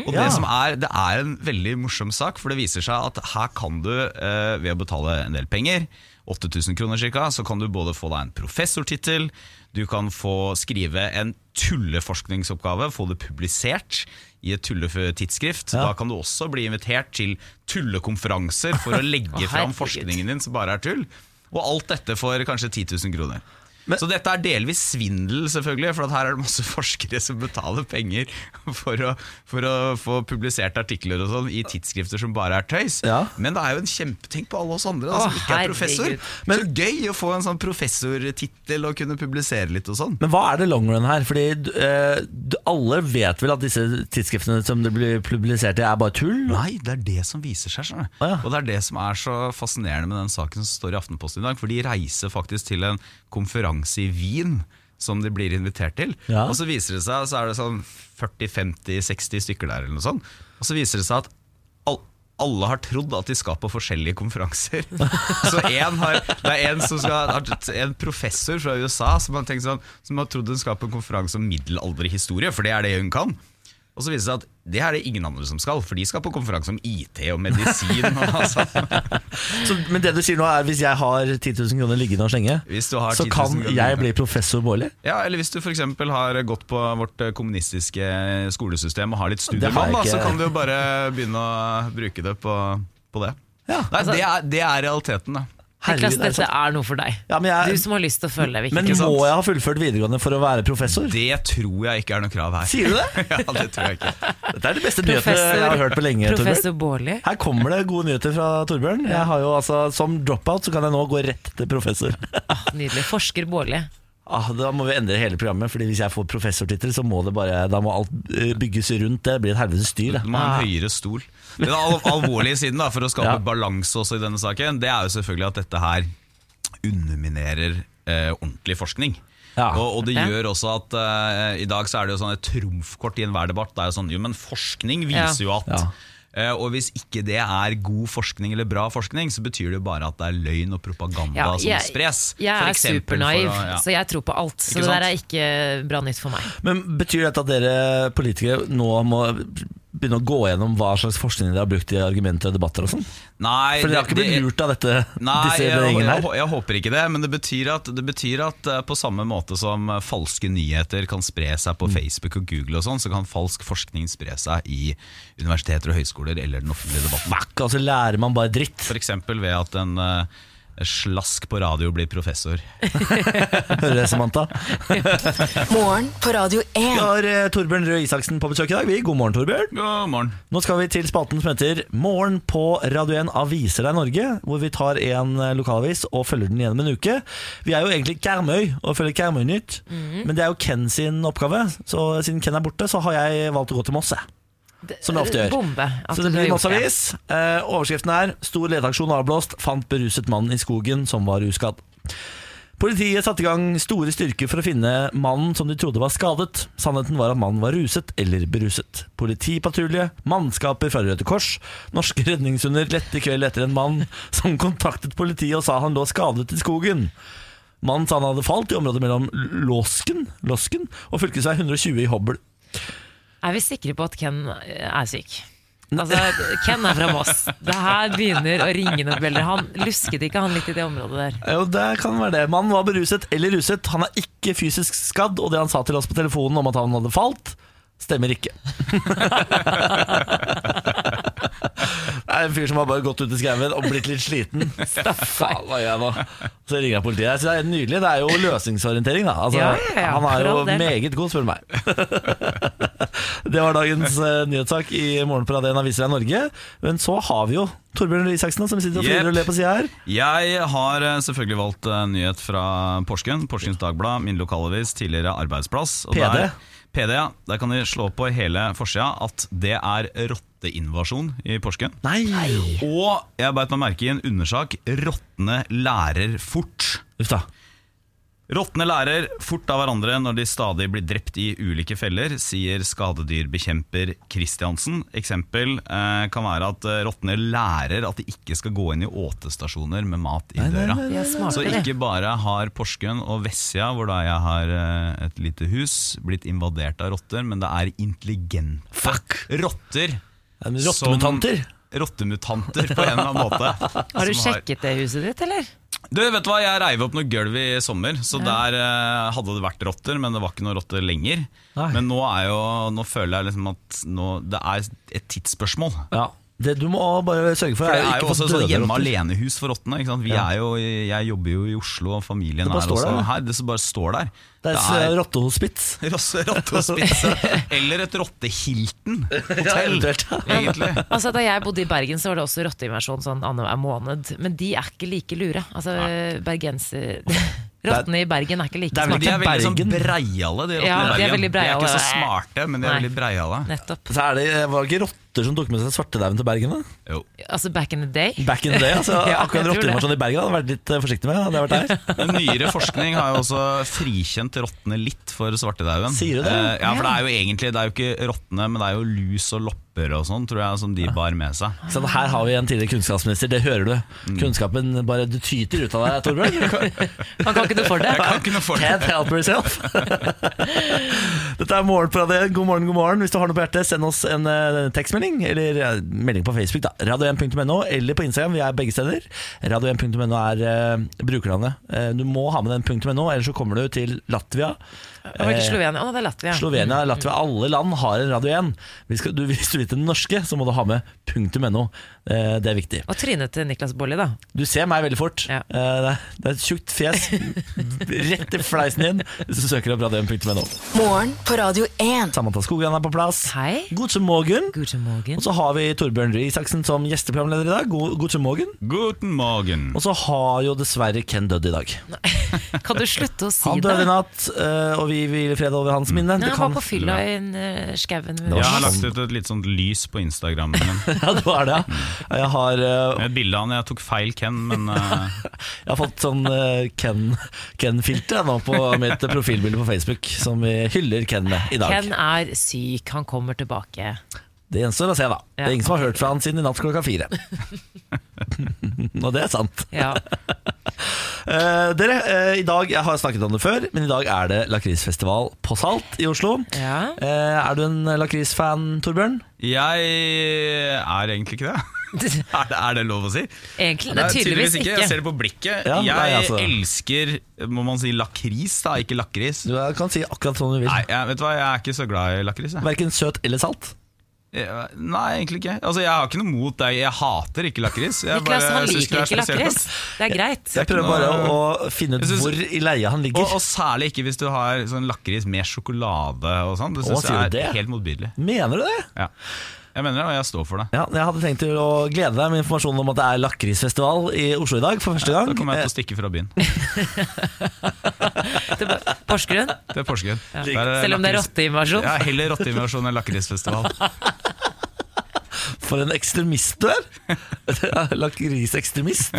S10: Og
S12: Mm. Ja.
S10: det, som er, det er en veldig morsom sak, for det viser seg at her kan du, eh, ved å betale en del penger, 8000 kroner cirka, så kan du både få deg en professortittel, du kan få skrive en tulleforskningsoppgave, få det publisert i et tulletidsskrift. Da kan du også bli invitert til tullekonferanser for å legge
S12: Å,
S10: fram
S12: herregud.
S10: forskningen din som bare er tull. Og alt dette for kanskje 10 000 kroner. så dette er delvis svindel, selvfølgelig, for at her er det masse forskere som betaler penger for å, for å få publisert artikler og sånn i tidsskrifter som bare er tøys. Men det er jo en kjempetenk på alle oss andre da, som
S1: Å,
S10: ikke er professor.
S1: herregud.
S10: Men så gøy å få en sånn professortittel og kunne publisere litt og sånn.
S1: Men hva er det long run her? Fordi eh, du- alle vet vel at disse tidsskriftene som det blir publisert i, er bare tull?
S10: Nei, det er det som viser seg. skjønner du. Og det er det som er så fascinerende med den saken som står i Aftenposten i dag. For de reiser faktisk til en konferanse i Wien som de blir invitert til.
S12: Ja.
S10: Og så viser det seg, så er det sånn 40-50-60 stykker der eller noe sånt. Og så viser det seg at all, alle har trodd at de skal på forskjellige konferanser. Så en har, det er en, som skal, en professor fra USA som har, tenkt sånn, som har trodd hun skal på en konferanse om middelalderhistorie, for det er det hun kan. Og så viser det seg at det er det ingen andre som skal, for de skal på konferanse om IT og medisin. Og, altså.
S1: Så, men det du sier nå er hvis jeg har 10 000 kroner liggende og slenge,
S10: Hvis du har
S1: så
S10: 10 000
S1: kan
S10: kroner
S1: jeg
S10: liggende.
S1: bli professor Baarli?
S10: Ja, Eller hvis du for eksempel har gått på vårt kommunistiske skolesystem og har litt
S1: Det har
S10: studielån,
S1: jeg
S10: da, så
S1: ikke.
S10: kan du jo bare begynne å bruke det på, på det. Nei,
S1: Altså-
S10: det, er, det er realiteten, da.
S4: Niklas, dette er noe for deg. du som har lyst til å føle deg viktig.
S1: Men
S4: Ikke sant?
S1: må jeg ha fullført videregående for å være professor?
S10: Det tror jeg ikke er noe krav her.
S1: Sier du det?
S10: ja, det tror jeg ikke.
S1: Dette er de beste nyhetene jeg har hørt på lenge.
S4: Professor
S1: Torbjørn.
S4: Baarli.
S1: Her kommer det gode nyheter fra Torbjørn. Jeg har jo altså, Som dropout så kan jeg nå gå rett til professor.
S4: Nydelig. Forsker Baarli.
S1: Ah, da må vi endre hele programmet, Fordi hvis jeg får professortittel, så må det bare Da må alt eh, bygges rundt det. Det blir et helvetes styr. det.
S10: Du må ha en høyere stol. Men Den al alvorlige siden da, for å skape balanse også i denne saken, det er jo selvfølgelig at dette her underminerer eh, ordentlig forskning. Og, og det
S12: Ja.
S10: gjør også at eh, i dag så er det jo sånn et trumfkort i enhver debatt. Det er jo sånn, jo, men forskning viser jo
S12: Ja.
S10: at Eh, og hvis ikke det er god forskning eller bra forskning, så betyr det jo bare at det er løgn og propaganda
S4: Ja,
S10: som spres.
S4: jeg
S10: For
S4: er
S10: eksempel for å-
S4: supernaiv,
S10: ja.
S4: så jeg tror på alt. Så
S10: Ikke
S4: det
S10: sant?
S4: der er ikke bra nytt for meg.
S1: Men betyr dette at dere politikere nå må begynne å gå gjennom hva slags forskning dere har brukt i argumenter og debatter og sånn?
S10: Nei,
S1: For dere har
S10: Eh, det-
S1: ikke blitt
S10: det-
S1: lurt av dette,
S10: Nei,
S1: disse
S10: jeg, jeg,
S1: gjengene her?
S10: hå- jeg håper ikke det, men det betyr, at, det betyr at eh, på samme måte som eh, falske nyheter kan spre seg
S1: Mm.
S10: på Facebook og Google og sånn, så kan falsk forskning spre seg i universiteter og høyskoler eller den offentlige debatten.
S1: Fuck, altså lærer man bare dritt.
S10: For eksempel ved at en eh, slask på radio blir professor.
S1: Hører det, Samantha?
S8: Morgen på Radio 1.
S1: Vi har eh, Torbjørn Røe Isaksen på besøk i dag. Vi, god morgen, Torbjørn.
S10: God morgen.
S1: Nå skal vi til spalten som heter Morgen på Radio 1 Aviser deg Norge, hvor vi tar en eh, lokalavis og følger den gjennom en uke. Vi er jo egentlig Kermøy og følger Kermøy-nytt,
S4: Mhm.
S1: men det er jo Ken sin oppgave. Så siden Ken er borte, så har jeg valgt å gå til Moss, jeg. Som jeg ofte gjør.
S4: Bombe. at
S1: Så det
S4: du har
S1: blir
S4: gjort
S1: Mossavis. Eh, overskriften er 'Stor leteaksjon avblåst. Fant beruset mann i skogen som var uskadd'. Politiet satte i gang store styrker for å finne mannen som de trodde var skadet. Sannheten var at mannen var ruset eller beruset. Politipatrulje, mannskaper fra Røde Kors, norske redningshunder lette i kveld etter en mann som kontaktet politiet og sa han lå skadet i skogen. Mannen sa han hadde falt i området mellom Låsken, Låsken og fv. 120 i Hobøl.
S4: Er vi sikre på at Ken er syk? Altså, Ken er fra Moss. Det her begynner å ringe noen bjeller. Han lusket ikke han litt i det området der.
S1: Jo, det kan være det. Mannen var beruset eller ruset. Han er ikke fysisk skadd, og det han sa til oss på telefonen om at han hadde falt, stemmer ikke. det er en fyr som har bare gått ut i skauen og blitt litt sliten. Faen, hva gjør jeg nå? Så ringer jeg politiet. Jeg synes det er nydelig. Det er jo løsningsorientering, da. Altså,
S4: Ja, ja, ja,
S1: han er
S4: for
S1: jo
S4: all del.
S1: meget god, spør du meg. det var dagens eh, nyhetssak i Morgen på Radio 1 Aviser i Norge. Men så har vi jo Torbjørn Røe Isaksen, som sitter og
S10: Yep.
S1: flirer og ler på sida her.
S10: Jeg har eh, selvfølgelig valgt eh, nyhet fra Porsgrunn. Porsgrunns Dagblad, min lokalavis, tidligere arbeidsplass.
S1: PD.
S10: Der, PD, ja. Der kan de slå på hele forsida at det er rotteinvasjon i Porsgrunn.
S1: Nei.
S10: Og jeg beit meg merke i en undersak råtne lærer fort.
S1: Uff da.
S10: Råtne lærer fort av hverandre når de stadig blir drept i ulike feller, sier skadedyrbekjemper Kristiansen. Eksempel eh, kan være at eh, råtne lærer at de ikke skal gå inn i åtestasjoner med mat i
S12: Nei, nei,
S10: døra.
S12: nei, nei, Ja, smarte
S10: Så
S12: det.
S10: ikke bare har Porsgrunn og Vessia, hvor da jeg har eh, et lite hus, blitt invadert av rotter, men det er intelligente rotter.
S1: rottemutanter.
S10: som- Rottemutanter på en eller annen måte.
S4: Har du
S10: som
S4: sjekket det huset ditt, eller?
S10: du, vet du hva, Jeg reiv opp noe gulv i sommer, så der eh, hadde det vært rotter, men det var ikke noen rotter lenger.
S1: Nei.
S10: Men nå, er jo, nå føler jeg liksom at nå, det er et tidsspørsmål.
S1: Det du må bare sørge for,
S10: For det
S1: å
S10: er
S1: ikke
S10: jo
S1: få
S10: også et
S1: døde
S10: sånn hjemme
S1: rotter.
S10: alene-hus for rottene. Ikke sant? Vi
S1: Ja.
S10: er jo, i- jeg jobber jo i Oslo, og familien
S1: Det
S10: er
S1: bare står
S10: også
S1: der, det.
S10: her. Det som bare står der.
S1: Det er et rottehospits.
S10: Rottehospits. Eller et rottehilton
S1: Ja,
S10: hotell,
S1: eventuelt.
S10: egentlig.
S4: Altså, da jeg bodde i Bergen, så var det også rotteinvasjon sånn annenhver måned. Men de er ikke like lure. Altså, bergenser Rottene i Bergen er ikke like
S10: Det er vel-
S4: smarte.
S10: de er veldig sånn breiale, de rottene
S4: Ja,
S10: i
S4: de er
S10: Bergen.
S4: veldig
S10: De er ikke
S4: breiale.
S10: så smarte, men de er
S4: Nei.
S10: veldig breiale.
S4: Nettopp.
S1: Så er det, var det ikke rotter som tok med seg svartedauden til Bergen? da?
S10: Jo.
S4: Altså back in the day.
S1: Back in the day, altså
S4: Ja, jeg
S1: Akkurat
S4: tror det.
S1: rotteinvasjon i Bergen hadde jeg vært litt eh, forsiktig med. Hadde jeg vært der
S10: Men Nyere forskning har jo også frikjent rottene litt for svartedauden.
S1: Sier du det?
S10: Eh, ja, for det er jo egentlig Det er jo ikke rottene, men det er jo lus og lopper og sånn, tror jeg, som de bar med seg.
S1: Så Her har vi en tidligere kunnskapsminister, det hører du. Kunnskapen bare du tyter ut av deg, Torbjørn.
S4: Han kan ikke noe for det.
S10: Jeg kan ikke noe for det.
S1: Can't help yourself. Dette er morgen på Radio 1. God morgen, god morgen. Hvis du har noe på hjertet, send oss en eh, tekstmelding. Eller eh, melding på Facebook, da. Radio1.no, eller på Instagram. Vi er begge steder. Radio1.no er eh, brukernavnet. Eh, du må ha med den .no, ellers så kommer du til Latvia.
S4: Det var ikke
S1: Eh,
S4: Slovenia. Å, det er Latvia.
S1: Slovenia, Latvia, alle land har en Radio 1. Vi skal, du, hvis du vil til den norske, så må du ha med .no. Eh, Det er viktig.
S4: Og trynet til Niklas Baarli, da.
S1: Du ser meg veldig fort. Eh, Det er- det er et tjukt fjes rett i fleisen din hvis du søker opp radio1.no.
S8: Morgen på Radio 1.
S1: Samantha Skogran er på plass.
S4: Hei.
S1: Guten morgen. Og så har vi Torbjørn Røe Isaksen som gjesteprogramleder i dag. God, guten morgen.
S10: Guten morgen.
S1: Og så har jo dessverre Ken dødd i dag.
S4: Kan du slutte å si
S1: Han
S4: det?
S1: døde i natt, eh, og vi hviler fred over hans minne.
S4: Nei,
S1: Det
S4: han
S1: kan-
S4: var på fylla i en, eh, skauen. med
S10: Jeg har
S4: Moss.
S10: lagt ut et litt sånt lys på Instagramen min.
S1: ja, du har det, ja. Jeg har eh,
S10: Et bilde av han jeg tok feil Ken, men eh,
S1: Jeg har fått sånn eh, Ken- Ken-filter jeg, nå på mitt profilbilde på Facebook, som vi hyller Ken med i dag.
S4: Ken er syk, han kommer tilbake.
S1: Det gjenstår å se, da. Det
S4: Ja.
S1: er ingen som har hørt fra han siden i natt klokka fire. Og det er sant.
S4: Ja.
S1: Eh, dere, eh, i dag, Jeg har snakket om det før, men i dag er det lakrisfestival på Salt i Oslo. Eh, er du en lakrisfan, Torbjørn?
S10: jeg er egentlig ikke det. Er det, er det lov å si?
S4: Egentlig,
S10: Nei,
S4: det er tydeligvis ikke.
S10: Jeg ser det på blikket.
S1: Ja,
S10: jeg
S1: nei, altså.
S10: elsker, må man si lakris da, ikke lakris?
S1: Du kan si akkurat sånn du vil.
S10: Nei, jeg, vet du hva, jeg er ikke så glad i lakris. jeg.
S1: Verken søt eller salt?
S10: Ja, Nei, egentlig ikke. Altså, Jeg har ikke noe mot deg. Jeg hater ikke lakris. Jeg
S4: Niklas,
S10: bare
S4: han
S10: synes
S4: liker
S10: det er
S4: ikke
S10: spesielt.
S4: lakris. Det er greit.
S10: Det er
S1: Jeg prøver
S10: ikke
S1: bare å
S10: noe-
S1: å finne ut
S10: Jeg synes-
S1: hvor i leia han ligger.
S10: Og, og særlig ikke hvis du har sånn lakris med sjokolade og sånn. Det
S1: Å,
S10: syns
S1: sier
S10: jeg
S1: du
S10: er
S1: det?
S10: helt motbydelig.
S1: Mener du det?
S10: Ja. Jeg mener det, og jeg står for det.
S1: Ja, jeg hadde tenkt til å glede deg med informasjonen om at det er lakrisfestival i Oslo i dag for første gang.
S10: Da kommer jeg til å stikke fra byen.
S4: Porsgrunn?
S10: Det er Porsgrunn.
S4: Ja.
S10: Der er eh,
S4: Selv om det er
S10: lakris-
S4: rotteinvasjon?
S10: Ja, heller rotteinvasjon enn lakrisfestival.
S1: For en ekstremist du er! Lakrisekstremist.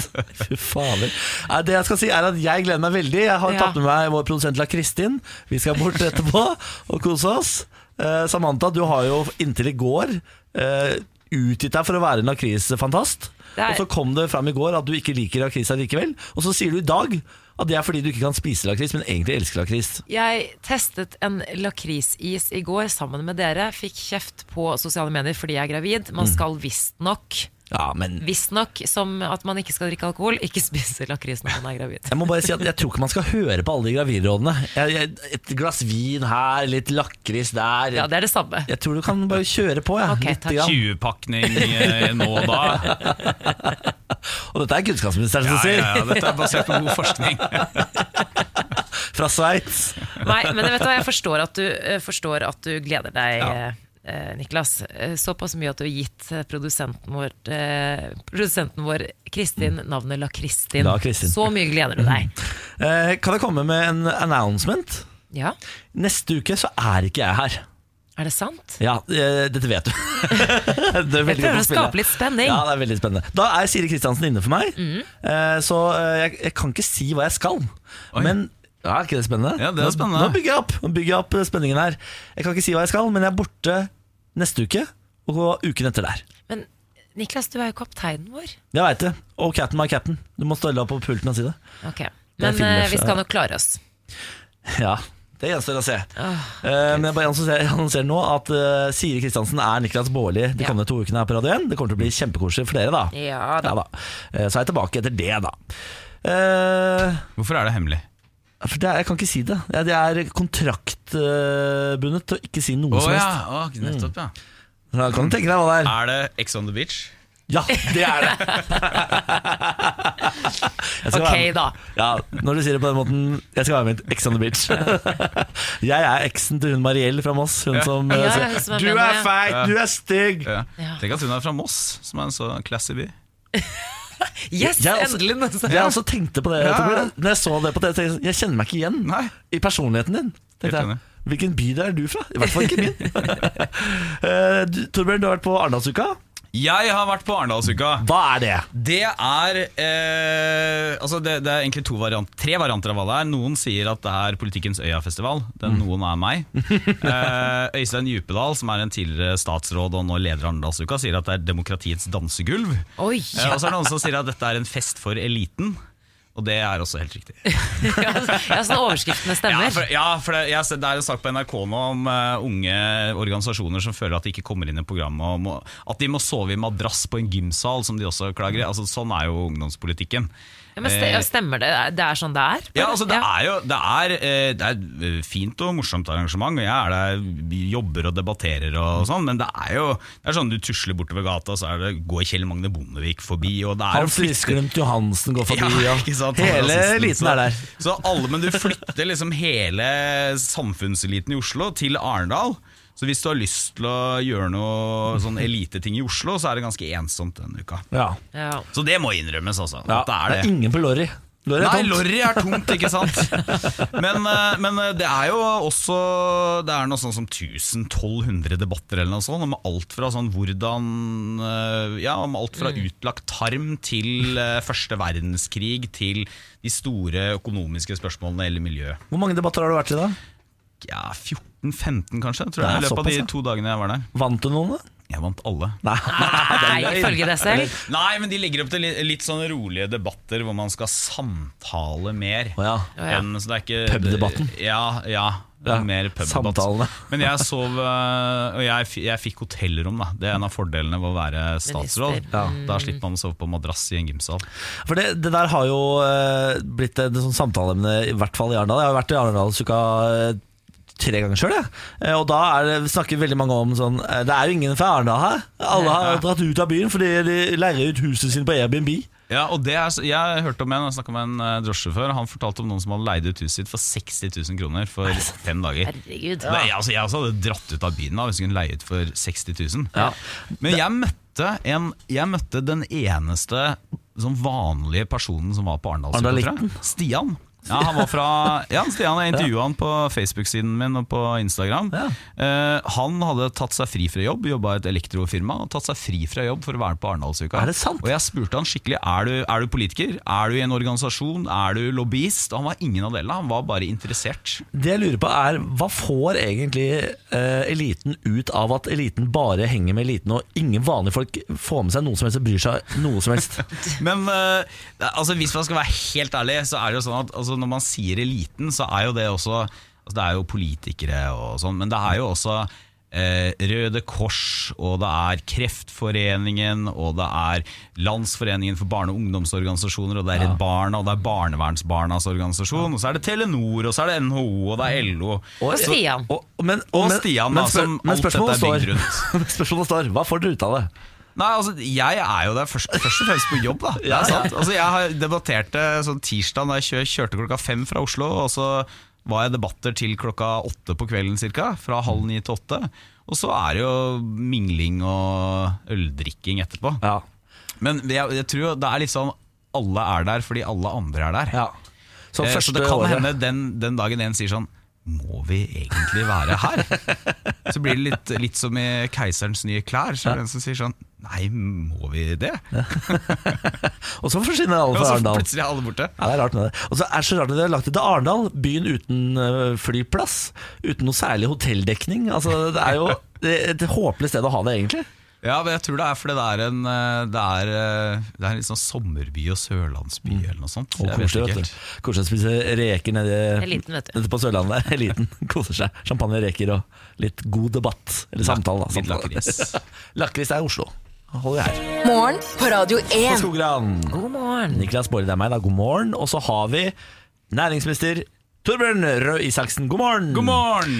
S1: Fy fader. Nei, Det jeg skal si er at jeg gleder meg veldig. Jeg har
S4: Ja.
S1: tatt med meg vår produsent La Kristin. Vi skal bort etterpå og kose oss. Eh, Samantha, du har jo inntil i går eh, utgitt deg for å være en lakrisfantast.
S4: Det er-
S1: Og så kom det fram i går at du ikke liker lakris allikevel. Og så sier du i dag at det er fordi du ikke kan spise lakris, men egentlig elsker lakris.
S4: Jeg testet en lakrisis i går sammen med dere. Fikk kjeft på sosiale medier fordi jeg er gravid. Man
S1: Mm.
S4: skal visstnok
S1: Ja, men
S4: Visstnok som at man ikke skal drikke alkohol, ikke spise lakris når man er gravid.
S1: Jeg må bare si at jeg tror ikke man skal høre på alle de gravidrådene. Jeg, jeg, et glass vin her, litt lakris der.
S4: Ja, det er det samme.
S1: Jeg tror du kan bare kjøre på. Jeg, litt grann.
S10: 20-pakning eh, nå og da.
S1: Og dette er kunnskapsministeren som
S10: Ja,
S1: sier.
S10: ja, ja, dette er basert på god forskning.
S1: Fra Sveits.
S4: Nei, men vet du hva, jeg forstår at du, eh, forstår at du gleder deg, eh, eh, Niklas. Eh, Såpass mye at du har gitt eh, produsenten vår, eh, produsenten vår Kristin navnet La Kristin.
S1: La Kristin.
S4: Så mye gleder du deg.
S1: Eh, kan jeg komme med en announcement?
S4: Ja,
S1: Neste uke så er ikke jeg her.
S4: er det sant?
S1: Ja, eh, dette vet du. Det er veldig
S4: Jeg prøver
S1: godt
S4: å
S1: spille.
S4: skape litt spenning.
S1: Ja, det er veldig spennende. Da er Siri Kristiansen inne for meg, eh, så eh, jeg, jeg kan ikke si hva jeg skal. Men ja, er ikke det spennende?
S10: Ja, det er
S1: Nå-
S10: spennende.
S1: Nå bygger jeg opp, nå bygger jeg opp eh, spenningen her. Jeg kan ikke si hva jeg skal, men jeg er borte neste uke og uken etter der.
S4: Men Niklas, du er jo kapteinen vår.
S1: Jeg veit det. Og cap'n my cap'n. Du må stå opp på pulten og si det.
S4: Ok,
S1: Det er
S4: Men eh,
S1: filmers-
S4: vi skal nok klare oss.
S1: Ja, det gjenstår å se.
S4: Åh,
S1: Eh, men jeg bare annonserer, annonserer nå at eh, Siri Kristiansen er Niklas Baarli de kommende to ukene her på Radio 1. Det kommer til å bli kjempekoselig for dere, da.
S4: Ja da.
S1: Ja da. Eh, Så er jeg tilbake etter det, da. Eh,
S10: Hvorfor er det hemmelig?
S1: For det er, jeg kan ikke si det. Jeg jeg er kontraktbundet til å ikke si noe
S10: Å
S1: som
S10: ja,
S1: helst. Mm.
S10: å, nettopp, ja.
S1: Så Da kan du tenke deg hva det er.
S10: Er det Ex on the beach?
S1: Ja, det er det! Jeg skal
S4: Ok,
S1: være med-
S4: da.
S1: Ja, når du sier det på den måten Jeg skal være med i Ex on the beach. Jeg er eksen til hun Mariell fra Moss. Hun
S10: Ja.
S1: som
S4: Ja,
S1: eh,
S4: ja,
S1: sier,
S4: hun som er
S1: Du
S4: med
S1: er
S4: nå, ja."
S1: feit,
S10: Ja.
S1: du er stygg!
S10: Ja. Tenk at hun er fra Moss, som er en så classy by.
S4: Yes,
S1: Jeg er også-
S4: endelig! noen som-
S1: Jeg også tenkte på altså, det
S10: Ja.
S1: Torbjørn. Når jeg så det på TV, tenkte jeg jeg kjenner meg ikke igjen
S10: Nei.
S1: i personligheten din. Tenkte
S10: Helt
S1: jeg,
S10: enig.
S1: Hvilken by er du fra? I hvert fall ikke min. Eh, du- Torbjørn, du har vært på Arendalsuka.
S10: Jeg har vært på Arendalsuka.
S1: Hva er det?
S10: Det er eh, altså det, det er egentlig to variant, tre varianter av hva det er. Noen sier at det er Politikkens Øya-festival. Den noen er meg. Eh, Øystein Djupedal, som er en tidligere statsråd og nå leder Arendalsuka, sier at det er demokratiets dansegulv.
S4: Oi,
S10: Eh, og så er det noen som sier at dette er en fest for eliten. Og det er også helt riktig.
S4: ja, sånn overskriftene
S10: Ja,
S4: stemmer.
S10: for, ja, for det, jeg, har sett- det er en sak på NRK nå om eh, unge organisasjoner som føler at de ikke kommer inn i programmet, og må, at de må sove i madrass på en gymsal, som de også klager i. Altså, sånn er jo ungdomspolitikken.
S4: Ja, men ste- ja, stemmer det? Det er sånn det er?
S10: Ja, altså det er jo det er, eh, det er et fint og morsomt arrangement, og jeg er der, vi jobber og debatterer og sånn, men det er jo det er sånn du tusler bortover gata, så er det, går Kjell Magne Bondevik forbi, og det er jo
S1: Hans Lysglimt Johansen går forbi. Ja,
S10: ikke sant? Han
S1: Hele
S10: rasisten,
S1: eliten
S10: så-
S1: er der.
S10: Så alle, men du flytter liksom hele samfunnseliten i Oslo til Arendal. Så hvis du har lyst til å gjøre noe sånn eliteting i Oslo, så er det ganske ensomt denne uka.
S1: Ja.
S4: Ja.
S10: Så det må innrømmes, altså.
S1: Ja.
S10: At det er det.
S1: ingen på Lorry. Lorry er
S10: Nei,
S1: tomt.
S10: lorry er tomt, ikke sant? Men, eh, men eh, det er jo også Det er noe sånn som 1000-1200 debatter eller noe sånt, om alt fra sånn hvordan eh, Ja, om alt fra
S1: Mm.
S10: utlagt tarm til eh, første verdenskrig til de store økonomiske spørsmålene eller miljø.
S1: Hvor mange debatter har du vært i da?
S10: Ja, 14-15 kanskje, tror
S1: Det er
S10: jeg, i løpet av
S1: såpass, ja.
S10: de to dagene jeg var der.
S1: Vant du noen, da?
S10: Jeg vant alle.
S1: Nei.
S4: Nei, ifølge deg selv.
S10: Nei, men de legger opp til litt, litt sånn rolige debatter hvor man skal samtale mer.
S1: Å ja.
S4: Å ja.
S10: enn- så det er ikke,
S1: Pubdebatten.
S10: Ja, ja.
S1: Ja,
S10: Mer pubdebatt.
S1: samtalene.
S10: Men jeg sov eh, Og jeg, fi- jeg fikk hotellrom, da. Det er en av fordelene ved å være statsråd.
S4: Minister. Ja.
S10: Da slipper man å sove på madrass i en gymsal.
S1: For det, det der har jo eh, blitt et sånn samtaleemne, i hvert fall i Arendal. Jeg har jo vært i Arendalsuka eh, tre ganger sjøl, jeg. Eh, Og da er det, snakker veldig mange om sånn eh, Det er jo ingen fra Arendal her. Alle
S10: Ja.
S1: har dratt ut av byen fordi de leier ut huset sitt på Airbnb.
S10: Ja, og det er, så- Jeg hørte om en, jeg snakket med en eh, drosjesjåfør. Han fortalte om noen som hadde leid ut huset sitt for 60 000 kroner for fem dager.
S4: Herregud.
S10: Det, jeg, altså, jeg også hadde dratt ut av byen da, hvis jeg kunne leie ut for 60 000. Men jeg møtte, en, jeg møtte den eneste sånn vanlige personen som var på Arendalsuka, tror jeg. Stian. Ja, han var fra ja, Stian, Jeg intervjua han på Facebook-siden min og på Instagram. Eh, han hadde tatt seg fri fra jobb, jobba i et elektrofirma og tatt seg fri fra jobb for å være på Arendalsuka. Og jeg spurte han skikkelig er du er du politiker, er du i en organisasjon, er du lobbyist. Han var ingen av delene, han var bare interessert.
S1: Det jeg lurer på er, hva får egentlig eh, eliten ut av at eliten bare henger med eliten, og ingen vanlige folk får med seg noen som helst og bryr seg noe som helst?
S10: Men eh, altså, hvis man skal være helt ærlig, så er det jo sånn at altså, når man sier eliten, så er jo det også altså, Det er jo politikere og sånn, men det er jo også eh, Røde Kors, og det er Kreftforeningen, og det er Landsforeningen for barne- og ungdomsorganisasjoner, og det er Redd Barna, og det er Barnevernsbarnas organisasjon, og så er det Telenor, og så er det NHO, og det er LO.
S1: Og
S10: Så-
S4: Stian.
S10: Og,
S1: men,
S10: og
S1: men-
S10: Stian,
S1: men
S10: da,
S1: spør-
S10: som
S1: men
S10: alt dette
S1: spørsmålet
S10: er bygd
S1: står-
S10: rundt.
S1: Spørsmålet står, hva får dere ut av det?
S10: Nei, altså, jeg er jo der først, først og fremst på jobb, da. Det
S1: Ja,
S10: er sant.
S1: ja.
S10: Altså, jeg har debattert det sånn tirsdag da jeg kjør, kjørte klokka fem fra Oslo, og så var jeg i debatter til klokka åtte på kvelden cirka. Fra halv ni til åtte. Og så er det jo mingling og øldrikking etterpå. Men jeg, jeg tror jo det er liksom alle er der fordi alle andre er der.
S1: Så
S10: Eh, Så,
S1: første
S10: det kan
S1: året-
S10: hende den, den dagen en sier sånn må vi egentlig være her? Så blir det litt, litt som i Keiserens nye klær. Så er det en som sier sånn Nei, må vi det?
S1: Og så forsvinner alle
S10: Og
S1: fra
S10: så
S1: Arendal.
S10: plutselig er alle borte.
S1: Ja, det er rart med det. Og så er det så rart at de har lagt det til Arendal, byen uten øh, flyplass. Uten noe særlig hotelldekning. Altså, det er jo et håpløst sted å ha det, egentlig.
S10: Ja, men jeg tror det er fordi det er en, eh, det er, eh, det er en litt sånn sommerby og sørlandsby eller noe sånt.
S1: Mm. Og
S10: Jeg vet
S1: koselig, vet
S10: ikke
S1: du.
S10: helt.
S1: Koselig å spise reker nede,
S10: Eliten, vet du.
S1: nede på Sørlandet. der. Eliten koser seg. Champagne, reker og litt god debatt. Eller samtale, da.
S10: Litt
S1: samtale.
S10: lakris.
S1: lakris er i Oslo. Holder jeg her.
S8: Morgen på Radio 1.
S1: På Skogran. God
S4: morgen.
S1: Niklas Baarli, det er meg, da. God morgen. Og så har vi næringsminister Torbjørn Røe Isaksen. God morgen. God
S10: morgen.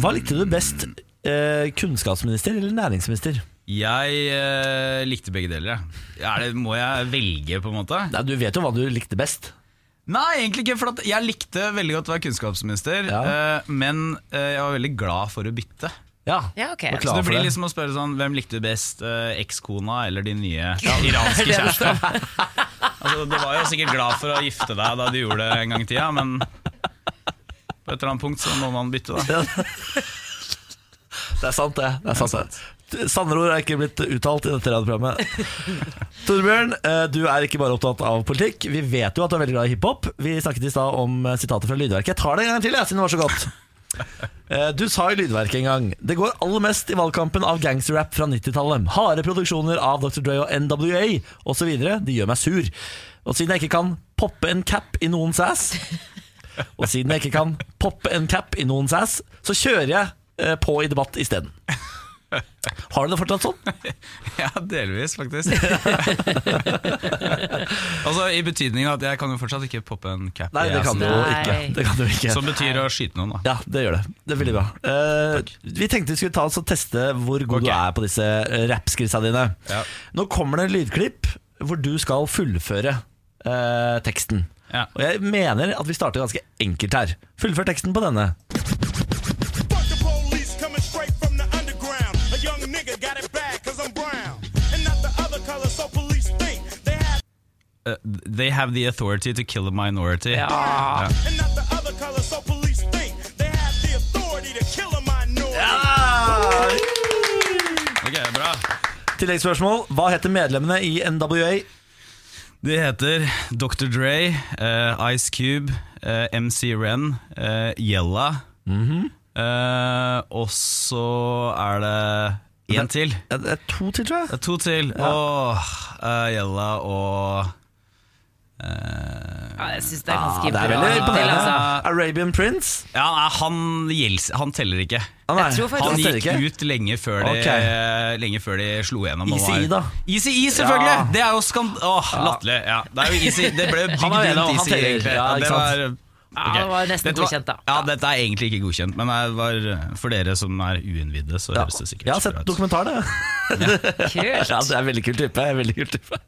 S1: Hva likte du best? eh, Kunnskapsminister eller næringsminister?
S10: Jeg eh, likte begge deler, jeg. Ja, det, må jeg velge, på en måte?
S1: Nei, Du vet jo hva du likte best.
S10: Nei, egentlig ikke. For at jeg likte veldig godt å være kunnskapsminister, eh, men eh, jeg var veldig glad for å bytte.
S1: Ja,
S4: Ja, ok.
S10: Så det blir liksom å spørre sånn Hvem likte du best, eh, ekskona eller din nye
S4: Det er
S10: iranske
S4: det det
S10: kjæreste? altså, du var jo sikkert glad for å gifte deg da du gjorde det en gang i tida, men på et eller annet punkt så må man bytte, da.
S1: Det er sant, det. det, er sant, det. Sandrord er ikke blitt uttalt i dette radioprogrammet. Torbjørn, eh, du er ikke bare opptatt av politikk. Vi vet jo at du er veldig glad i hiphop. Vi snakket i stad om eh, sitater fra Lydverket. Jeg tar det en gang til, jeg, siden det var så godt. Eh, Du sa i Lydverket en gang Det går aller mest i valgkampen av gangsterrap fra 90-tallet. Harde produksjoner av Dr. Dre og NWA osv. De gjør meg sur. Og siden jeg ikke kan poppe en cap i noens ass og siden jeg ikke kan poppe en cap i noens ass, så kjører jeg eh, på i debatt isteden. Har du det fortsatt sånn?
S10: Ja, delvis, faktisk. altså I betydningen at jeg kan jo fortsatt ikke poppe en cap.
S1: Nei,
S10: i
S1: det kan du
S10: assen.
S1: jo ikke. Det kan du ikke.
S10: Som betyr å skyte noen, da.
S1: Ja, det gjør det. Det er veldig bra. Eh, vi tenkte vi skulle ta oss og teste hvor god du er på disse eh, rappskrisa dine. Nå kommer det en lydklipp hvor du skal fullføre eh, teksten. Og jeg mener at vi starter ganske enkelt her. Fullfør teksten på denne.
S12: Fuck the police coming straight from the underground. A young nigga got it bad cause I'm brown. And not the other color, so police think they have.
S10: Uh, they have the authority to kill a minority.
S12: Yeah. And not the other color, so police think they have the authority to kill a minority.
S10: Ok, bra.
S1: Tilleggsspørsmål. Hva heter medlemmene i NWA?
S10: De heter Dr. Dre, eh, Ice Cube, eh, MC Ren, eh, Yella. eh, og så er det én til.
S1: Det er to til, tror jeg.
S10: Det er to til. Åh, eh, Yella og eh,
S4: Ja, jeg syns det er
S10: Ah,
S4: ganske
S10: det er
S4: bra.
S10: veldig
S4: hittil,
S10: imponerende.
S4: altså.
S1: Arabian Prince?
S10: Ja, nei, han, gjelds- han teller ikke.
S1: Ah, nei. Jeg tror faktisk
S10: han
S1: han
S10: gikk
S1: teller ikke.
S10: ut lenge før, de, lenge før de slo gjennom. og
S1: Eazy-E,
S10: var-
S1: da.
S10: Eazy-E, selvfølgelig!
S1: Ja.
S10: Det er jo skand... Åh, latterlig. Ja. Det, er jo Eazy- det ble
S1: Han
S10: bygd
S1: er jo en av- han
S10: rundt Eazy,
S1: teller.
S10: egentlig.
S1: Ja, ikke
S10: det
S1: sant?
S10: var
S4: Ja, det var nesten
S10: dette var-
S4: godkjent, da.
S10: Ja, dette er egentlig ikke godkjent, men det var for dere som er uinnvidde, så høres det sikkert
S1: Jeg har sett dokumentar, det.
S4: Kult.
S1: Ja, det er en veldig kul type. en Veldig kul type.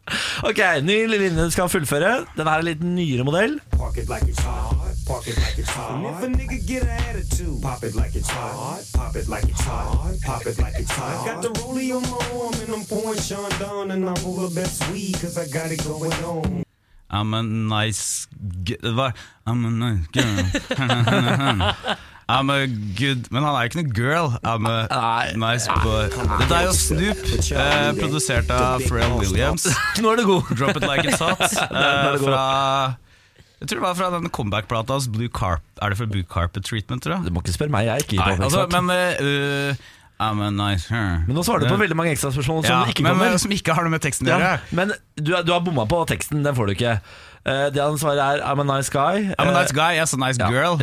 S1: Ok, ny linje du skal fullføre. Den her er en litt nyere modell.
S13: Park it like it's hot. Park it like it's hot. And if a nigga get an attitude, pop it like it's hot. Pop it like it's hot. Pop it like it's hot. I got the rollie on my arm and I'm pouring Sean down and I roll the best weed cause I got it going on.
S10: I'm a nice g- det var- I'm a nice girl I'm a good Men han er jo ikke noe girl. I'm a nice boy. Dette er jo Snoop, eh, produsert av Pharrell Williams.
S1: Nå er du god.
S10: Drop It Like It's Hot.
S1: Nå er
S10: Eh,
S1: du god.
S10: fra jeg tror det var fra den comeback-plata hans. Blue Carp, er det fra Blue Carpet Treatment, tror jeg?
S1: Du må ikke spørre meg, jeg er ikke
S10: Nei,
S1: i
S10: altså,
S1: comeback-plata.
S10: men, eh, uh, I'm a nice girl.
S1: Men nå svarer du på veldig mange ekstraspørsmål som
S10: Ja,
S1: ikke
S10: men,
S1: kommer.
S10: eh, som ikke har noe med teksten å
S1: Ja,
S10: gjøre.
S1: men du, er- du har bomma på teksten, den får du ikke. Eh, Det han svarer er 'I'm a nice guy'.
S10: I'm
S1: Eh,
S10: a nice guy, yes, a nice girl. Er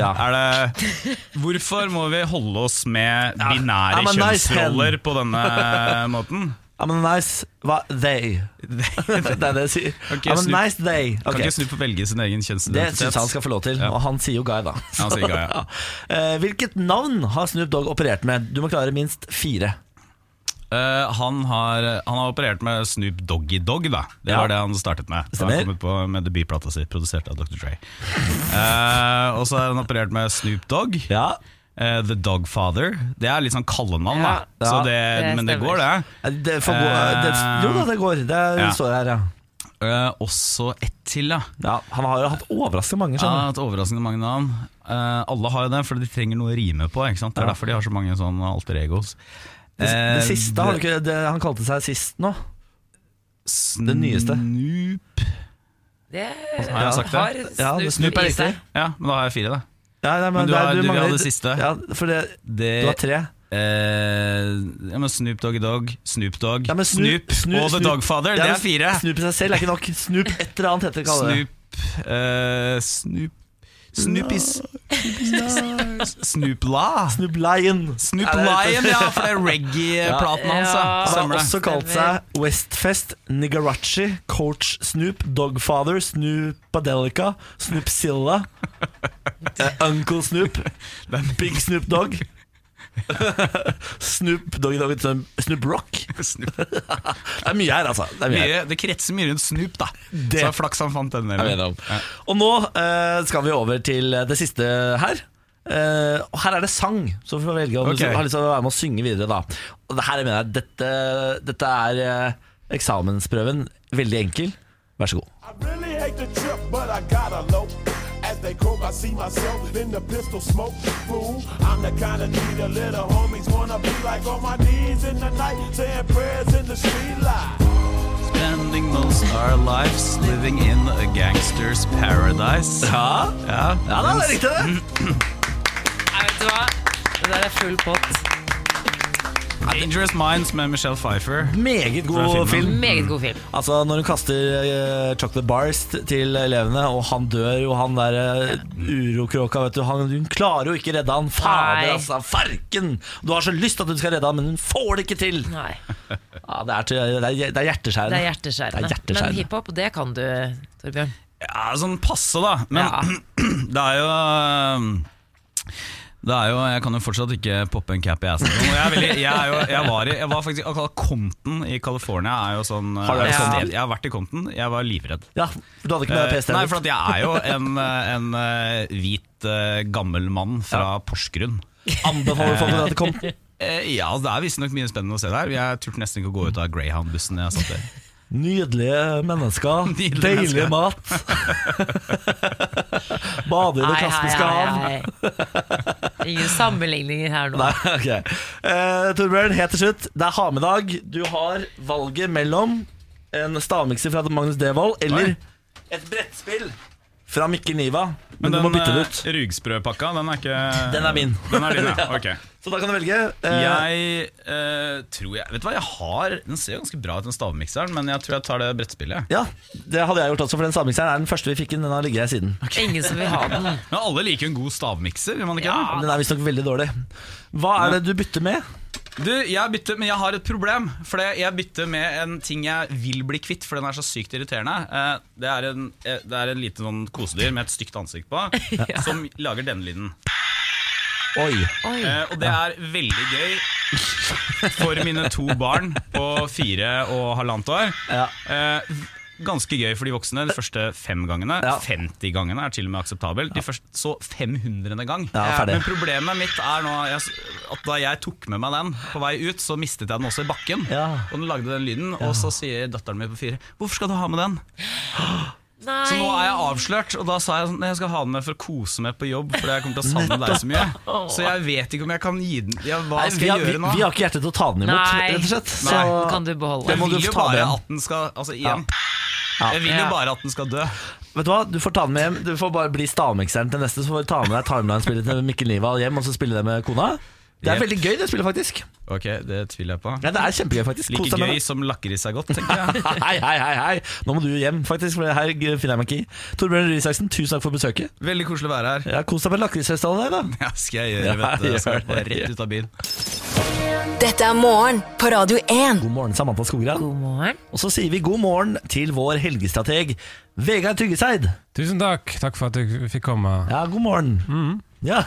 S10: det, hvorfor må vi holde oss med binære
S1: I'm a nice
S10: kjønnsroller
S1: hen.
S10: på denne måten?
S1: I'm a nice hva, they. det er det jeg sier.
S10: Kan ikke
S1: I'm a
S10: Snoop-
S1: nice they.
S10: Kan
S1: Ok.
S10: ikke Snoop få velge sin egen
S1: Det
S10: kjønnsidentitet?
S1: syns han skal få lov til,
S10: Ja.
S1: og han sier jo Guy, da.
S10: Han sier Guy, ja.
S1: Eh, Hvilket navn har Snoop Dogg operert med? Du må klare minst fire.
S10: Eh, han, har, han har operert med Snoop Doggy Dogg, da. Det
S1: Ja.
S10: var det han startet med. Da
S1: Stemmer.
S10: Han kommet på med debutplata si, produsert av Dr. Dre. Eh, og så har han operert med Snoop Dogg. Eh, The Dogfather. Det er litt sånn kallenavn, da.
S1: Ja,
S10: så det, men det går, det.
S1: Ja, Eh, det får gå, det, jo da, det går. Det
S10: Ja.
S1: står her, ja.
S10: Eh, også ett til, ja.
S1: Han har jo hatt overraskende mange.
S10: Ja,
S1: skjønner du.
S10: et overraskende mange navn. Eh, alle har jo det, for de trenger noe å rime på. Ikke sant? Det er
S1: Ja.
S10: derfor de har så mange sånn alter egos.
S1: Det, det
S10: Eh,
S1: siste har du ikke det, Han kalte seg sist nå.
S10: Snoop
S1: Det nyeste.
S4: Det
S10: Har jeg sagt det?
S1: Ja, det Snoop er
S4: i seg.
S1: riktig.
S10: Ja, men da har jeg fire, da.
S1: Ja, nei, men
S10: du,
S1: det er-
S10: har,
S1: du
S10: du, vil ha
S1: mangler-
S10: det siste.
S1: Ja, for det,
S10: Det-
S1: du har tre.
S10: Eh, ja, men Snoop Doggy Dogg, Snoop Dogg,
S1: men
S10: Snoop, og The
S1: Snoop-
S10: Dogfather.
S1: Ja,
S10: det
S1: men
S10: er fire.
S1: Snoop i seg selv er ikke nok. Snoop et eller annet heter det. kaller det.
S10: Snoop, eh, Snoop Snoopies Snoop La.
S1: Snoop Lion.
S10: Snoop
S1: Er det rett og
S10: Lion,
S1: slett?
S10: ja, for det er reggae-platen hans. da.
S1: Han
S10: Stemmer
S1: har
S10: det.
S1: også kalt seg Westfest, Nigarachi, Coach Snoop, Dogfather, Snoopadelica, Snoopzilla, eh, Uncle Snoop, Big Snoop Dogg. Snoop Doggy Doggy Snoop- Snoop Rock. det er mye her, altså. Det er mye her.
S10: Mye, det kretser mye rundt Snoop, da.
S1: Det-
S10: Så flaks han fant den.
S1: Jeg vet om. Og nå eh, skal vi over til det siste her. Eh, og her er det sang, så vi får velge om
S10: Ok.
S1: du har lyst til å være med og synge videre. Da. Og det her mener jeg, dette, dette er eh, eksamensprøven. Veldig enkel. Vær så god.
S12: Really hate the trip, but I gotta low. As they croak, I see myself in the pistol smoke. Fool, I'm the kind of dude the little homies wanna be like on my knees in the night, saying prayers in the street light.
S10: Spending most our lives living in a gangsters paradise.
S1: Ja,
S10: ja.
S1: Ja da, det er riktig, det.
S4: Nei, vet du hva? Det der er full pott.
S10: Dangerous Minds med Michelle Pfeiffer.
S1: Meget
S10: Fra
S1: god
S10: filmen.
S1: film.
S4: Meget god film.
S1: Altså Når hun kaster eh, chocolate bars t- til elevene, og han dør jo, han der eh, urokråka vet du, han, Hun klarer jo ikke redde han. Fader,
S4: Nei.
S1: altså! Farken! Du har så lyst til at hun skal redde han, men hun får det ikke til!
S4: Nei.
S1: Ja, det, er, til- det, er, det er hjerteskjærende.
S4: Det er hjerteskjærende.
S1: Det er hjerteskjærende.
S4: Men hiphop, det kan du, Torbjørn.
S10: Ja, sånn passe, da. Men det er jo um, det er jo, Jeg kan jo fortsatt ikke poppe en cap i assen. Og Jeg, er veldig, jeg, er jo, jeg, var i, jeg var faktisk akkurat Compton i California. Er jo sånn,
S1: Har du vært i
S10: jeg,
S1: Compton?
S10: jeg har vært i Compton. Jeg var livredd.
S1: Ja, Du hadde ikke med
S10: Eh,
S1: deg PC?
S10: Nei, for at jeg er jo en, eh, en eh, hvit, eh, gammel mann fra Porsgrunn.
S1: Anbefaler folk at det kom?
S10: Eh, ja, det er visstnok mye spennende å se der. Jeg turte nesten ikke å gå ut av Greyhound-bussen jeg satt der.
S1: Nydelige mennesker,
S10: Nydelige
S1: deilig
S10: mennesker.
S1: mat. Bade i det
S4: Hei, hei,
S1: kaspiske
S4: hei,
S1: hav.
S4: Ingen sammenligninger her nå.
S1: Nei, ok eh, Torbjørn, helt til slutt Det er hamedag Du har valget mellom En stavmikser fra Magnus Devold Eller et brettspill fra Mikkel Niva Men, du må bytte det ut
S10: ut. Rugsprøpakka, den er ikke
S1: Den er min.
S10: eh, Den er din, ja. Ok.
S1: Så da kan du velge eh,
S10: Jeg eh, tror jeg Vet du hva, jeg har Den ser jo ganske bra ut, den stavmikseren, men jeg tror jeg tar det brettspillet.
S1: Ja, det hadde jeg gjort også For den stavmikseren er den første vi fikk inn Den har ligget her siden
S4: Ingen som vil ha den.
S10: Men alle liker jo en god stavmikser, gjør man ikke
S1: Den er visst nok veldig dårlig Hva er det du bytter med?
S10: det? Du, jeg bytter, men jeg har et problem. For det- jeg bytter med en ting jeg vil bli kvitt, for den er så sykt irriterende. Eh, Det er en, eh, det er en liten sånn kosedyr med et stygt ansikt på,
S4: Ja.
S10: som lager denne lyden.
S4: Oi.
S10: Eh, og det er veldig gøy for mine to barn på fire og halvannet år. Eh, ganske gøy for de voksne de første fem gangene. 50 gangene er til og med akseptabel. De første, så 500. gang.
S1: Ja, ferdig.
S10: Men problemet mitt er nå jeg, at da jeg tok med meg den på vei ut, så mistet jeg den også i bakken. Og den lagde den lyden, og så sier datteren min på fire 'Hvorfor skal du ha med den?' Så nå er jeg avslørt, og da sa jeg sånn, «Nei, jeg skal ha den med for å kose meg på jobb. Fordi jeg kommer til å savne deg så mye Så jeg vet ikke om jeg kan gi den ja, Hva
S1: Nei,
S10: skal
S1: vi, har,
S10: jeg
S1: vi,
S10: gjøre nå?
S1: vi har ikke hjerte til å ta den imot,
S10: Nei.
S1: rett og slett.
S10: Nei. Den kan du beholde.
S1: det må
S10: Jeg
S1: du
S10: vil jo
S1: ta med
S10: bare
S1: hjem.
S10: at den skal- altså, igjen. Jeg vil jo
S1: Ja.
S10: bare at den skal dø.
S1: Vet Du hva, du får ta den med hjem. Du får bare bli stavmikseren til neste, så får du ta med deg timeline-spillet til Mikkel Niva hjem, og så spille det med kona. Det er
S10: Yep.
S1: veldig gøy, det spillet, faktisk.
S10: Ok, det tviler jeg på.
S1: Ja, det er kjempegøy, faktisk. Kos
S10: Like
S1: deg med
S10: gøy
S1: det.
S10: som lakris er godt, tenker jeg.
S1: Hei, hei, hei, hei. Nå må du hjem, faktisk, for det her finner jeg meg ikke i. Torbjørn Røe Isaksen, tusen takk for besøket.
S10: Veldig koselig å være her.
S1: Ja, Kos deg med lakrisfestivalen der, da.
S10: Ja, skal jeg gjøre, vet du. Jeg skal bare rett ut av byen.
S8: Dette er morgen på Radio 1.
S1: God morgen, Samantha Skogran.
S4: God morgen.
S1: Og så sier vi god morgen til vår helgestrateg, Vegard Tryggeseid.
S14: Tusen takk. Takk for at jeg fikk komme.
S1: Ja, god morgen.
S10: Mm.
S1: Ja.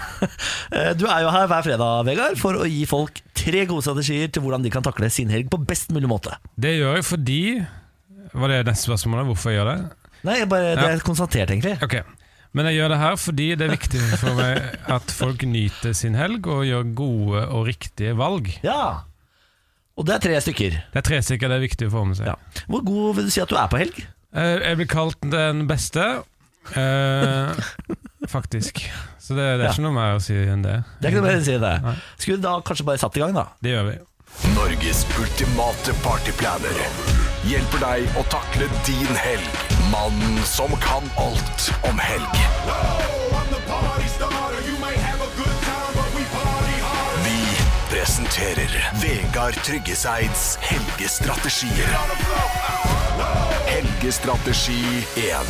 S1: Eh, Du er jo her hver fredag, Vegard, for å gi folk tre gode strategier til hvordan de kan takle sin helg på best mulig måte.
S14: Det gjør jeg fordi Var det neste spørsmålet? Hvorfor jeg gjør det?
S1: Nei, jeg bare, Det
S14: Ja.
S1: er konstatert, egentlig.
S14: Ok. Men jeg gjør det her fordi det er viktig for meg at folk nyter sin helg og gjør gode og riktige valg.
S1: Ja, Og det er tre stykker.
S14: Det er tre stykker, det er viktig å få med seg.
S1: Hvor god vil du si at du er på helg?
S14: Eh, Jeg blir kalt den beste, eh, faktisk. Så det, det er
S1: Ja.
S14: ikke noe mer å si enn det.
S1: Det er ikke noe mer å si enn det. Skulle vi da kanskje bare satt i gang, da?
S14: Det gjør vi.
S15: Norges ultimate partyplaner hjelper deg å takle din helg. Mannen som kan alt om helg. Vi presenterer Vegard Tryggeseids helgestrategier. Helgestrategi 1.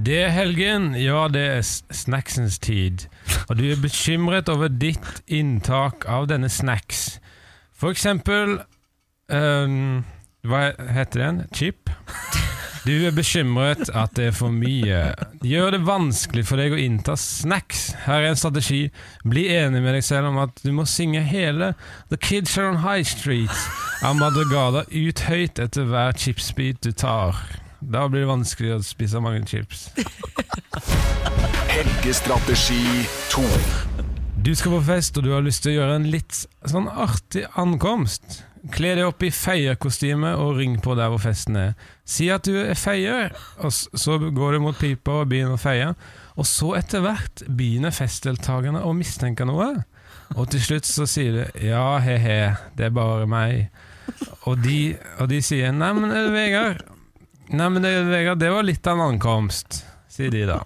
S14: Det er helgen, ja det er s- snacksens tid. Og du er bekymret over ditt inntak av denne snacks. For eksempel ehm, Hva heter den? Chip? Du er bekymret at det er for mye. Gjør det vanskelig for deg å innta snacks. Her er en strategi. Bli enig med deg selv om at du må synge hele The Kids Are On High Street av Madrugada ut høyt etter hver chipsbit du tar. Da blir det vanskelig å spise mange chips.
S15: Helgestrategi 2.
S14: Du skal på fest, og du har lyst til å gjøre en litt sånn artig ankomst. Kle deg opp i feierkostyme og ring på der hvor festen er. Si at du er feier, og s- så går du mot pipa og begynner å feie. Og så etter hvert begynner festdeltakerne å mistenke noe. Og til slutt så sier du 'ja, he-he, det er bare meg'. Og de, og de sier 'nei, men eh, Vegard', nei, men det, Vegard, det var litt av en ankomst', sier de da.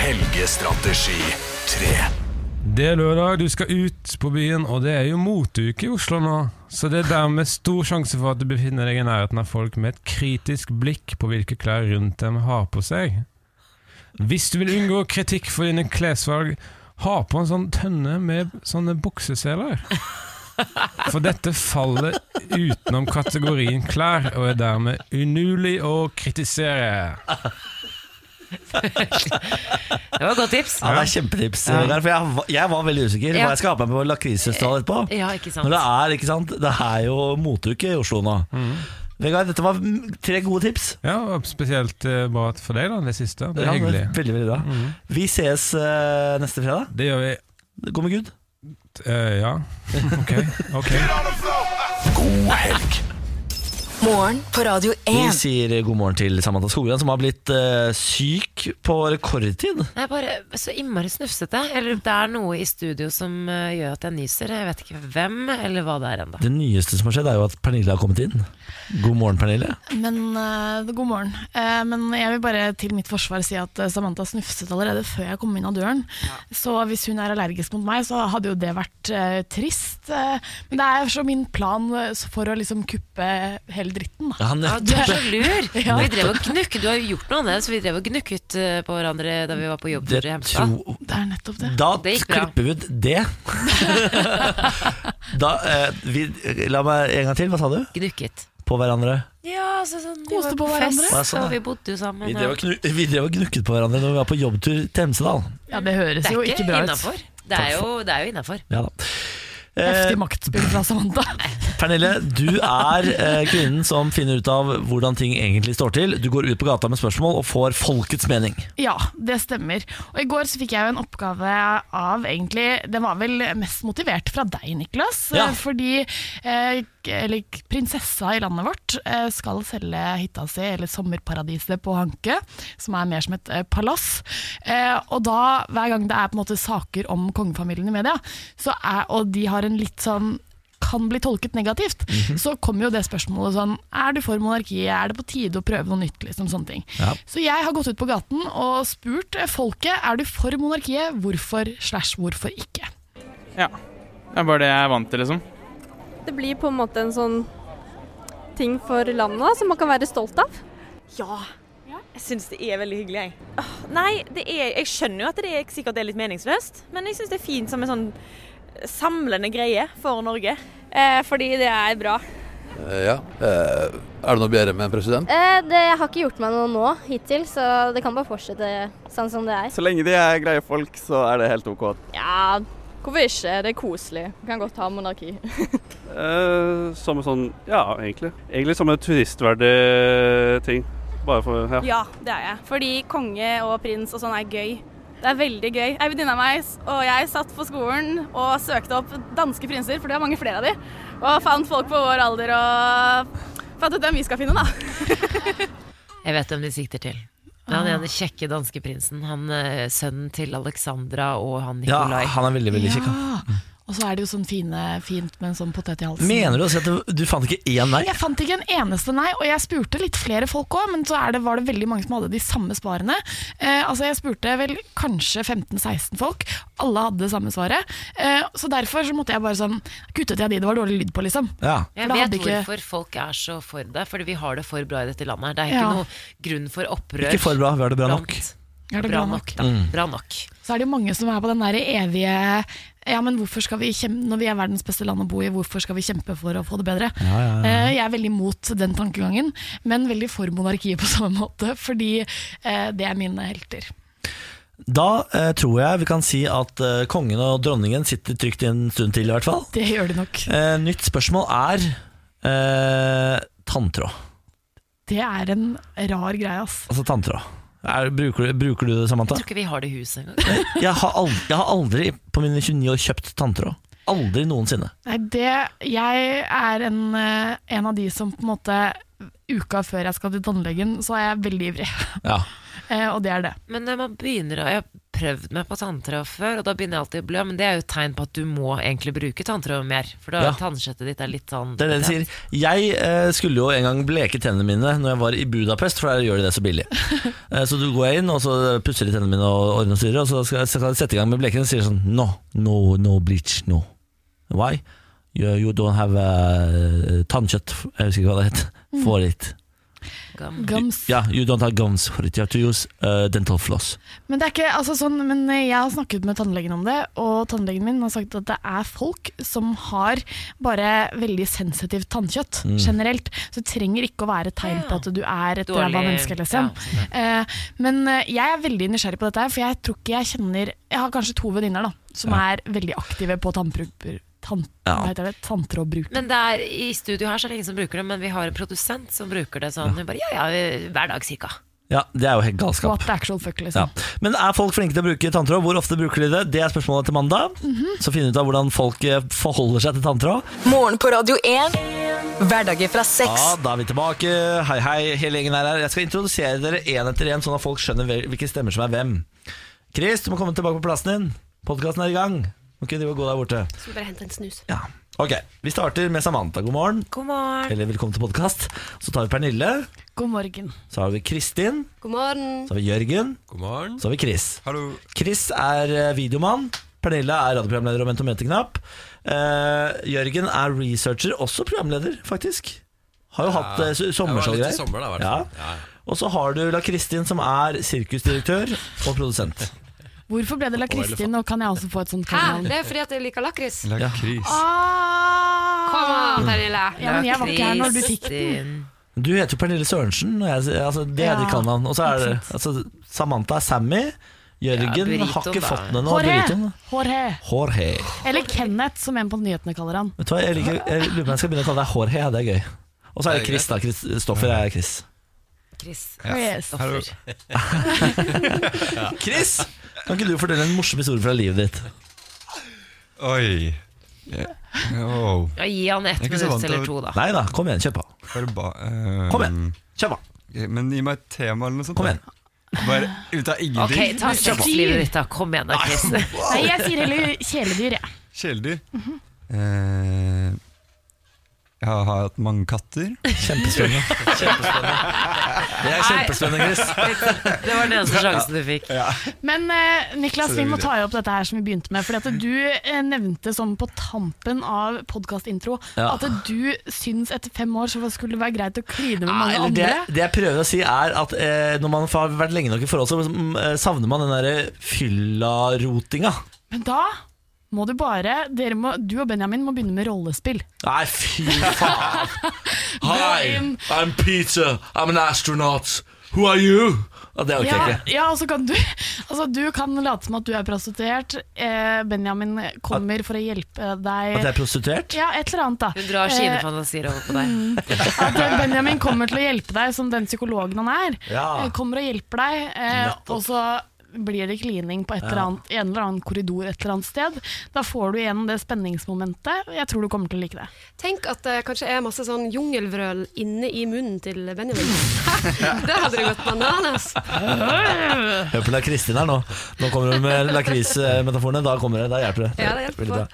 S15: Helgestrategi 3.
S14: Det er lørdag, du skal ut på byen, og det er jo moteuke i Oslo nå. Så det er dermed stor sjanse for at du befinner deg i nærheten av folk med et kritisk blikk på hvilke klær rundt dem har på seg. Hvis du vil unngå kritikk for dine klesvalg, ha på en sånn tønne med sånne bukseseler. For dette faller utenom kategorien klær, og er dermed umulig å kritisere.
S4: Det var et godt tips.
S1: Ja, det er kjempetips.
S4: Ja.
S1: Vegard, For jeg, var- jeg var veldig usikker på
S4: Ja.
S1: hva jeg skal ha på meg på lakrisfestivalen etterpå.
S4: Ja, ikke sant.
S1: Når det er, ikke sant? Det er jo moteuke i Oslo nå.
S14: Mm.
S1: Vegard, dette var mm, tre gode tips.
S14: Ja, og spesielt eh, bra for deg, da, det siste. Det
S1: Ja,
S14: er
S1: det var
S14: hyggelig. Mm.
S1: Veldig, veldig bra. Vi ses eh, neste fredag.
S14: Det gjør vi.
S1: Gå med Gud.
S14: Eh, ja, ok. ok
S15: God helg.
S8: Morgen på Radio
S1: Vi
S8: 1.
S1: sier god morgen til Samantha Skogran, som har blitt eh, syk på rekordtid.
S4: Jeg er bare så innmari snufsete. Eller det er noe i studio som eh, gjør at jeg nyser. Jeg vet ikke hvem eller hva det er ennå.
S1: Det nyeste som har skjedd, er jo at Pernille har kommet inn. God morgen, Pernille.
S2: Men eh, God morgen. Eh, men jeg vil bare til mitt forsvar si at eh, Samantha snufset allerede før jeg kom inn av døren. Så hvis hun er allergisk mot meg, så hadde jo det vært eh, trist. eh, Men det er så min plan eh, for å liksom kuppe hele dritten. Da.
S1: Ja,
S4: Ja, du er så lur!
S2: Ja.
S4: Vi drev og gnukk, Du har jo gjort noe annet, så vi drev og gnukket eh, på hverandre da vi var på jobb.
S1: Det
S4: i Hemsedal.
S1: tror
S2: Det er nettopp det.
S1: Da
S4: Det gikk bra.
S1: klipper vi ut det. da, eh, vi, la meg en gang til. Hva sa du?
S4: Gnukket.
S1: På hverandre.
S4: Ja, så sånn, vi
S2: Koste
S4: var
S2: på hverandre.
S4: fest,
S1: Ja, sånn, ja.
S4: og vi bodde jo sammen.
S1: Vi
S4: og-
S1: drev, og knu, vi drev og gnukket på hverandre når vi var på jobbtur til Hemsedal.
S2: Ja, det høres
S4: Det er
S2: jo ikke bra
S4: innenfor.
S2: ut.
S4: Det er jo, det er jo innafor.
S1: Ja da. Eh,
S2: Heftig maktspill fra Samantha.
S1: Pernille, du er eh, kvinnen som finner ut av hvordan ting egentlig står til. Du går ut på gata med spørsmål og får folkets mening.
S2: Ja, det stemmer. Og i går så fikk jeg jo en oppgave av egentlig Den var vel mest motivert fra deg, Niklas.
S1: Ja.
S2: eh, Fordi eh, k- eller, k- prinsessa i landet vårt eh, skal selge hytta si, eller sommerparadiset på Hanke, som er mer som et eh, palass. Eh, og da, hver gang det er på en måte saker om kongefamilien i media, så er, og de har en litt sånn kan bli tolket negativt, så kommer jo det spørsmålet sånn Er du for monarkiet? Er det på tide å prøve noe nytt? Liksom sånne ting.
S7: Ja.
S2: Så jeg har gått ut på gaten og spurt eh, folket er du for monarkiet, hvorfor slash hvorfor ikke.
S16: Ja. Det er bare det jeg er vant til, liksom.
S17: Det blir på en måte en sånn ting for landet som man kan være stolt av. Ja. Jeg syns det er veldig hyggelig, jeg. nei, det er, jeg skjønner jo at det er, sikkert er litt meningsløst, men jeg syns det er fint som en sånn samlende greie for Norge. Eh, fordi det er bra.
S18: Eh, Ja. Er det noe bedre med en president?
S19: Eh, det har ikke gjort meg noe nå hittil, så det kan bare fortsette sånn som det er.
S20: Så lenge de er greie folk, så er det helt OK.
S17: Ja, hvorfor ikke? Det er koselig. Vi kan godt ha monarki.
S21: Eh, som en sånn Ja, egentlig. Egentlig som en turistverdig ting. Bare for Ja.
S22: Ja, det er jeg. Fordi konge og prins og sånn er gøy. Det er veldig gøy. Ei venninne av meg s- og jeg satt på skolen og søkte opp danske prinser, for det er mange flere av de, og fant folk på vår alder og fant ut hvem vi skal finne, da.
S4: Jeg vet hvem de sikter til. Men Han ene kjekke danske prinsen. Han eh, Sønnen til Alexandra og han
S1: Ja,
S4: Nikolai.
S1: han er veldig, veldig kjekk. han.
S2: Og så er det jo sånn fine, fint med en sånn potet i halsen.
S1: Mener du å si at du, du fant ikke én nei?
S2: Jeg fant ikke en eneste nei, og jeg spurte litt flere folk òg, men så er det, var det veldig mange som hadde de samme svarene. Eh, altså Jeg spurte vel kanskje 15-16 folk, alle hadde det samme svaret. Eh, så derfor så måtte jeg bare sånn Kuttet jeg de det var dårlig lyd på, liksom. For
S4: Jeg
S2: da
S4: vet
S2: hadde ikke-
S4: hvorfor folk er så for det, fordi vi har det for bra i dette landet. Det er ikke
S2: Ja.
S4: noe grunn for opprør.
S1: Ikke for bra, vi har det bra
S4: blant-
S1: nok.
S2: Er det bra nok?
S4: da.
S1: Mm.
S4: Bra nok.
S2: så er det jo mange som er på den der evige Ja, men hvorfor skal vi kjempe Når vi er verdens beste land å bo i, hvorfor skal vi kjempe for å få det bedre?
S7: Ja, ja, ja.
S2: Eh, Jeg er veldig mot den tankegangen, men veldig for monarkiet på samme måte, fordi eh, det er mine helter.
S1: Da eh, tror jeg vi kan si at eh, kongen og dronningen sitter trygt en stund til, i hvert fall.
S2: Det gjør de nok.
S1: Eh, nytt spørsmål er eh, tanntråd.
S2: Det er en rar greie, ass.
S1: Altså tanntråd. Er, bruker, du- bruker du det, Samantha?
S4: Jeg tror ikke vi har det i huset engang.
S1: Jeg har, aldri, jeg har aldri på mine 29 år kjøpt tanntråd. Aldri noensinne.
S2: Nei, det Jeg er en, eh, en av de som på en måte Uka før jeg skal til tannlegen, så er jeg veldig ivrig.
S1: Ja.
S2: Eh, og det er det.
S4: Men når man begynner å Jeg har prøvd meg på tanntråd før, og da begynner jeg alltid å blø. Men det er jo et tegn på at du må egentlig bruke tanntråd mer. For da
S1: Ja.
S4: tannkjøttet ditt er litt sånn
S1: Det er det de sier. Jeg eh, skulle jo en gang bleke tennene mine når jeg var i Budapest, for der gjør de det så billig. Eh, så du går jeg inn, og så pusser de tennene mine og ordner og styrer, og så skal jeg, skal jeg sette i gang med blekingen og sier sånn No, no, no bleach, no. Why? You, you don't have eh, tannkjøtt, jeg husker ikke hva det het, for it.
S4: Gum.
S2: Gums.
S1: Ja, you don't have gums for it. You have to use eh, dental floss.
S2: Men det er ikke, altså sånn, men jeg har snakket med tannlegen om det, og tannlegen min har sagt at det er folk som har bare veldig sensitivt tannkjøtt
S7: Mm.
S2: generelt. Så det trenger ikke å være et tegn på at du er et
S7: Dårlig-
S2: ræva menneske, liksom. Eh, men eh, jeg er veldig nysgjerrig på dette, her, for jeg tror ikke jeg kjenner Jeg har kanskje to venninner da, som er veldig aktive på tannbruker. Tann,
S4: Ja.
S2: Hva heter det? Tanntrådbruk.
S4: Men det er, i studio her så er det ingen som bruker det, men vi har en produsent som bruker det sånn. Hun bare, ja, ja, hver dag cirka.
S1: Ja, det er jo helt galskap.
S2: What the actual fuck, liksom.
S1: Ja. Men er folk flinke til å bruke tanntråd? Hvor ofte bruker de det? Det er spørsmålet til mandag. Så finne ut av hvordan folk eh, forholder seg til tanntråd.
S8: Morgen på Radio 1. Hverdager fra seks.
S1: Ja, da er vi tilbake. Hei, hei, hele gjengen er her. Jeg skal introdusere dere én etter én, sånn at folk skjønner hvil- hvilke stemmer som er hvem. Chris, du må komme tilbake på plassen din. Podkasten er i gang. Må ikke drive og gå der borte.
S5: Skal vi bare hente en snus?
S1: Ja. Ok, Vi starter med Samantha. God morgen.
S4: God morgen.
S1: Eller velkommen til podkast. Så tar vi Pernille.
S2: God morgen.
S1: Så har vi Kristin.
S5: God morgen.
S1: Så har vi Jørgen. God morgen Så har vi Chris. Chris er eh, videomann. Pernille er radioprogramleder og mentometerknapp. Eh, Jørgen er researcher, også programleder, faktisk. Har jo
S3: Ja.
S1: hatt eh,
S3: Det
S1: s-
S3: var litt i
S1: sommershowgreier.
S3: sommer, da, i hvert
S1: Ja.
S3: fall. Ja, ja.
S1: Og så har du La Kristin, som er sirkusdirektør og produsent.
S2: Hvorfor ble det La
S1: Og elefant.
S2: Kristin, og kan jeg også få et sånt
S5: Hæ?
S2: kallenavn?
S5: Det er fordi at jeg liker lakris.
S1: Lakris.
S2: Ah!
S5: Kom an, Pernille.
S2: Ja, men jeg var ikke her når du fikk
S4: den.
S1: Du heter jo Pernille Sørensen, og jeg, altså, det er
S2: Ja,
S1: ditt kallenavn. Og så er det altså, Samantha er Sammy. Jørgen
S4: Ja,
S1: har
S4: Burrito,
S1: ikke
S4: da.
S1: fått noe
S2: Jorge.
S1: burritoen.
S2: Jorge.
S1: Jorge.
S2: Eller Kenneth, som en på nyhetene kaller han.
S1: Vet du hva, jeg, liker, jeg lurer på om jeg skal begynne å kalle deg Jorge, ja, det er gøy. Og så er det Chris, da. Kristoffer er Chris.
S4: Chris.
S1: Yes.
S4: Stoffer.
S1: Ja. Chris, kan ikke du fortelle en morsom historie fra livet ditt?
S6: Oi. Oh.
S4: Ja, gi han ett
S6: Jeg er ikke så
S4: minutt
S6: vant til
S4: eller
S6: å-
S4: to, da.
S1: Nei da, kom igjen, kjøp på. Kom igjen, kjøp på.
S6: eh, Men gi meg et tema eller noe sånt. Kom igjen. Bare ut av
S4: Ok,
S6: ingenting.
S4: ta
S6: Kjøp på.
S4: sexlivet ditt, da. Kom igjen, da, Chris.
S2: Nei, jeg sier heller kjæledyr, jeg.
S6: Kjæledyr. Eh, jeg har hatt mange katter.
S1: Kjempespennende. Det er kjempespennende, Chris.
S4: Det var den eneste sjansen du fikk.
S2: Men eh, Niklas,
S4: Så
S2: vi
S4: det
S2: må
S4: vil
S2: ta opp dette her som vi begynte med. Fordi at du eh, nevnte sånn på tampen av podkastintro
S1: Ja.
S2: at du syns etter fem år så skulle det være greit å kline med mange
S1: Eller det,
S2: andre.
S1: det jeg prøver å si er at eh, når man har vært lenge nok i forhold, så mm, eh, savner man den derre fyllarotinga.
S2: Men da må du bare dere må, Du og Benjamin må begynne med rollespill.
S1: Nei, fy faen.
S2: Gå inn.
S1: I'm Peter. I'm an astronaut. Who are you? Ja, det orker jeg
S2: ja,
S1: ikke.
S2: ja, og så kan du altså, Du kan late som at du er prostituert. Eh, Benjamin kommer for å hjelpe deg.
S1: At jeg er prostituert?
S2: Ja, et eller annet, da. Eh,
S4: Hun drar sine fantasier over på deg.
S2: At Benjamin kommer til å hjelpe deg som den psykologen han er.
S4: Ja.
S2: Eh, Kommer og hjelper deg, eh,
S4: Nettopp.
S2: og så blir det klining på et eller
S4: Ja.
S2: annet, i en eller annen korridor et eller annet sted. Da får du igjen det spenningsmomentet. Jeg tror du kommer til å like det.
S5: Tenk at det kanskje er masse sånn jungelvrøl inne i munnen til Benjamin. det hadde det gått bananas.
S1: Hør på La Kristin her nå. Nå kommer hun med lakrismetaforene. Da kommer det, da hjelper det.
S5: Ja, det hjelper
S1: Veldig bra.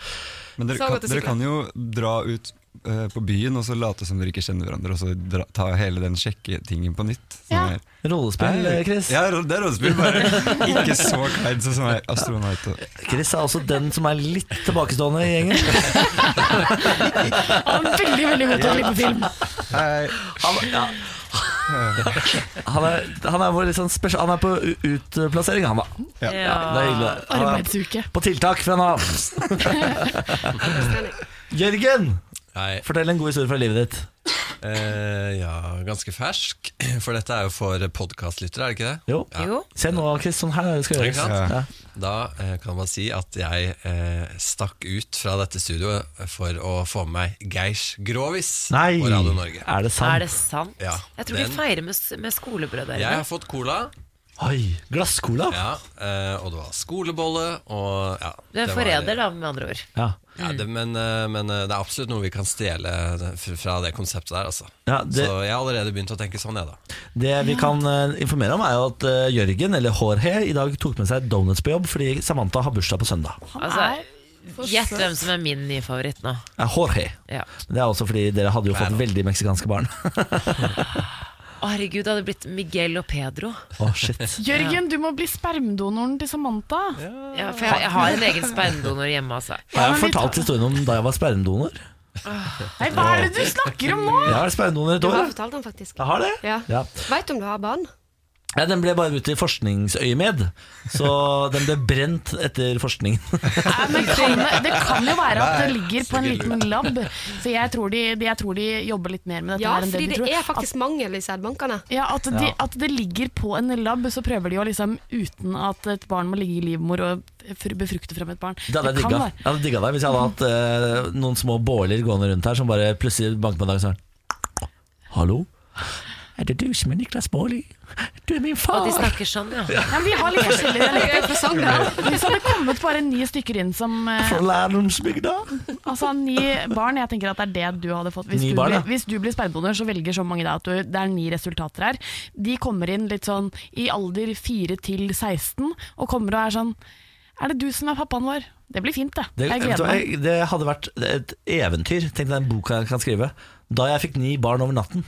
S6: Men dere
S5: Så
S6: kan,
S5: godt å
S6: dere
S5: sykle.
S6: kan jo dra ut eh, på byen og så late som dere ikke kjenner hverandre, og så dra, ta hele den sjekketingen på nytt.
S1: Ja. Rollespill,
S6: Hei.
S1: eh, Chris.
S6: Ja, ro- det er rollespill, bare ikke så kleint sånn som jeg er astronaut. Og.
S1: Chris er også den som er litt tilbakestående i gjengen.
S2: Han er veldig, veldig god til å klippe film.
S1: Han, ja. han, er, han er vår litt sånn spesial Han er på u- utplassering, han da.
S4: Ja.
S1: det er hyggelig. Han er
S2: Arbeidsuke.
S1: På tiltak fra Nav. Jørgen, fortell en god historie fra livet ditt.
S3: Eh, ja, ganske fersk. For dette er jo for podkastlyttere, er det ikke det?
S1: Jo.
S3: Ja.
S1: Se nå, Chris, sånn her er det skal
S3: Ikke
S1: gjøres.
S3: sant?
S1: Ja.
S3: Da eh, kan man si at jeg eh, stakk ut fra dette studioet for å få med meg Geirs Grovis
S1: Nei,
S3: på Radio Norge.
S1: er det sant?
S4: Er det sant?
S3: Ja,
S4: Jeg tror
S3: den-
S4: de feirer med, med skolebrød der.
S3: Jeg har fått cola.
S1: Oi, glasscola?
S3: Ja, eh, og det var skolebolle og ja,
S4: Du er
S3: det var-
S4: forræder, da, Mm. med andre ord.
S1: Ja.
S3: Ja, det, men, eh, men eh, det er absolutt noe vi kan stjele eh, f- fra det konseptet der, altså.
S1: Ja, det-
S3: Så jeg har allerede begynt å tenke sånn, jeg, da.
S1: Det vi kan eh, informere om, er jo at eh, Jørgen, eller Jorge, i dag tok med seg donuts på jobb fordi Samantha har bursdag på søndag.
S4: Altså, Gjett hvem som er min nye favoritt nå.
S1: Eh, Jorge.
S4: Ja.
S1: Det er også fordi dere hadde jo fått veldig meksikanske barn.
S4: Å, herregud, det hadde blitt Miguel og Pedro.
S1: Å, shit.
S2: Jørgen, du må bli spermdonoren til Samantha.
S4: Ja, for jeg, jeg har en egen spermdonor hjemme, altså.
S1: Har jeg fortalt historien om da jeg var spermdonor?
S2: Nei, hva er det du snakker om nå?
S1: Jeg har vært spermdonor et
S5: Du
S1: år.
S5: har fortalt den faktisk.
S1: Jeg har det?
S5: Ja.
S1: Ja.
S5: Veit du om du har barn?
S1: Ja, den ble bare brukt i forskningsøyemed, så den ble brent etter forskningen.
S2: Men kan, det kan jo være at det ligger på en liten lab, så jeg tror de, de- jeg tror de jobber litt mer med dette
S5: Ja,
S2: her enn det
S5: fordi
S2: de
S5: det
S2: tror.
S5: er faktisk mangel i sædbankene.
S2: Ja, at, de,
S5: Ja.
S2: at det ligger på en lab, så prøver de å liksom uten at et barn må ligge i livmor og fr- befrukte frem et barn.
S1: Det hadde jeg
S2: kan
S1: digga.
S2: være.
S1: Jeg hadde digga det hvis jeg hadde hatt eh, noen små båler gående rundt her som bare plutselig banket meg i dag og sa Hallo? Er det du som er Niklas Baarli? Du er min
S4: Og de snakker sånn, ja.
S2: Ja, men vi har litt forskjellige
S4: Det er
S2: dialekter.
S4: interessant, da.
S2: Hvis det hadde kommet bare ni stykker inn som eh,
S1: Fra lærdomsbygda.
S2: Altså ni barn, jeg tenker at det er det du hadde fått. Hvis,
S1: Ni
S2: du,
S1: barn, ja.
S2: blir, hvis du blir spermdonor, så velger så mange da at du, det er ni resultater her. De kommer inn litt sånn i alder 4 til 16 og kommer og er sånn Er det du som er pappaen vår? Det blir fint, det.
S1: Det,
S2: Jeg
S1: vet du
S2: gleder
S1: hva,
S2: meg.
S1: jeg- det hadde vært et eventyr. Tenk deg den boka jeg kan skrive. Da jeg fikk ni barn over natten.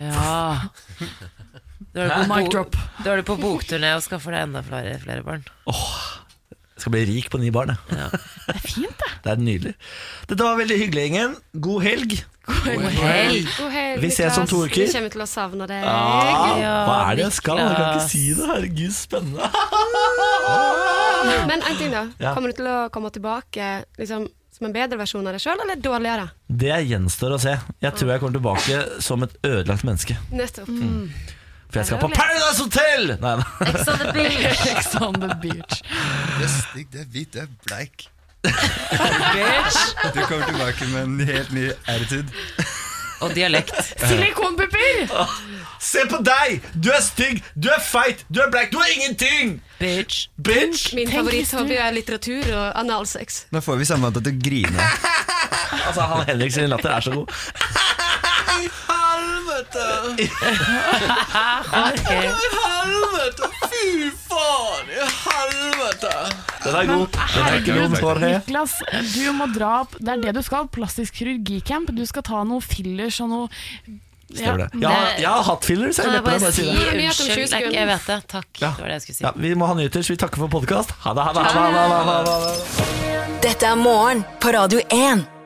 S4: Ja. Da er
S1: Hæ?
S4: du på,
S1: Mic
S4: bo- da er du på bokturné og skaffer deg enda flere, flere barn.
S1: Jeg skal bli rik på ni barn, jeg.
S2: Det er fint, det.
S1: Det er nydelig. Dette var veldig hyggelig, gjengen. God helg.
S5: God
S1: helg.
S5: God helg,
S1: Vi ses om to
S5: Niklas.
S1: uker.
S5: Vi kommer til å savne deg.
S1: Ja, Ah, hva er det jeg skal? Jeg kan ikke si det. Herregud, spennende.
S5: Men en ting, da.
S1: Ja.
S5: Kommer du til å komme tilbake liksom, som en bedre versjon av deg sjøl, eller dårligere?
S1: Det gjenstår å se. Jeg tror jeg kommer tilbake som et ødelagt menneske.
S5: Nettopp.
S1: For jeg skal på Paradise Hotel! Nei, nei.
S5: Ex on the beach.
S2: Ex on the beach.
S9: Det er stygg, det er hvit, det er bleik.
S6: Du kommer tilbake med en helt ny attitude.
S4: Og dialekt.
S2: Silikonpupper!
S1: Se på deg! Du er stygg, du er feit, du er black, du er ingenting!
S4: Bitch.
S1: Bitch!
S5: Min favoritthobby er litteratur og analsex.
S6: Da får vi samme til å grine.
S1: Altså, han Henrik sin latter er så god.
S9: I helvete!
S4: I
S9: helvete! Fy faen! I helvete!
S1: Den er god. Den er ikke god, Torhe.
S2: Niklas, du må dra opp Det er det du skal. Plastisk kirurgicamp. Du skal ta noe fillers og noe ja.
S1: Stemmer det. Jeg har, jeg har hatt fillers, jeg.
S4: Kan jeg
S1: Leppene,
S4: bare
S1: bare
S4: si
S1: si det.
S4: unnskyld? Det er ikke, jeg vet det. Takk. Det var det jeg skulle si.
S1: Ja, vi må ha nyheter, så vi takker for podkast. Ha det, ha det, ha det, ha det, ha det, ha det.
S8: Dette er morgen på Radio 1.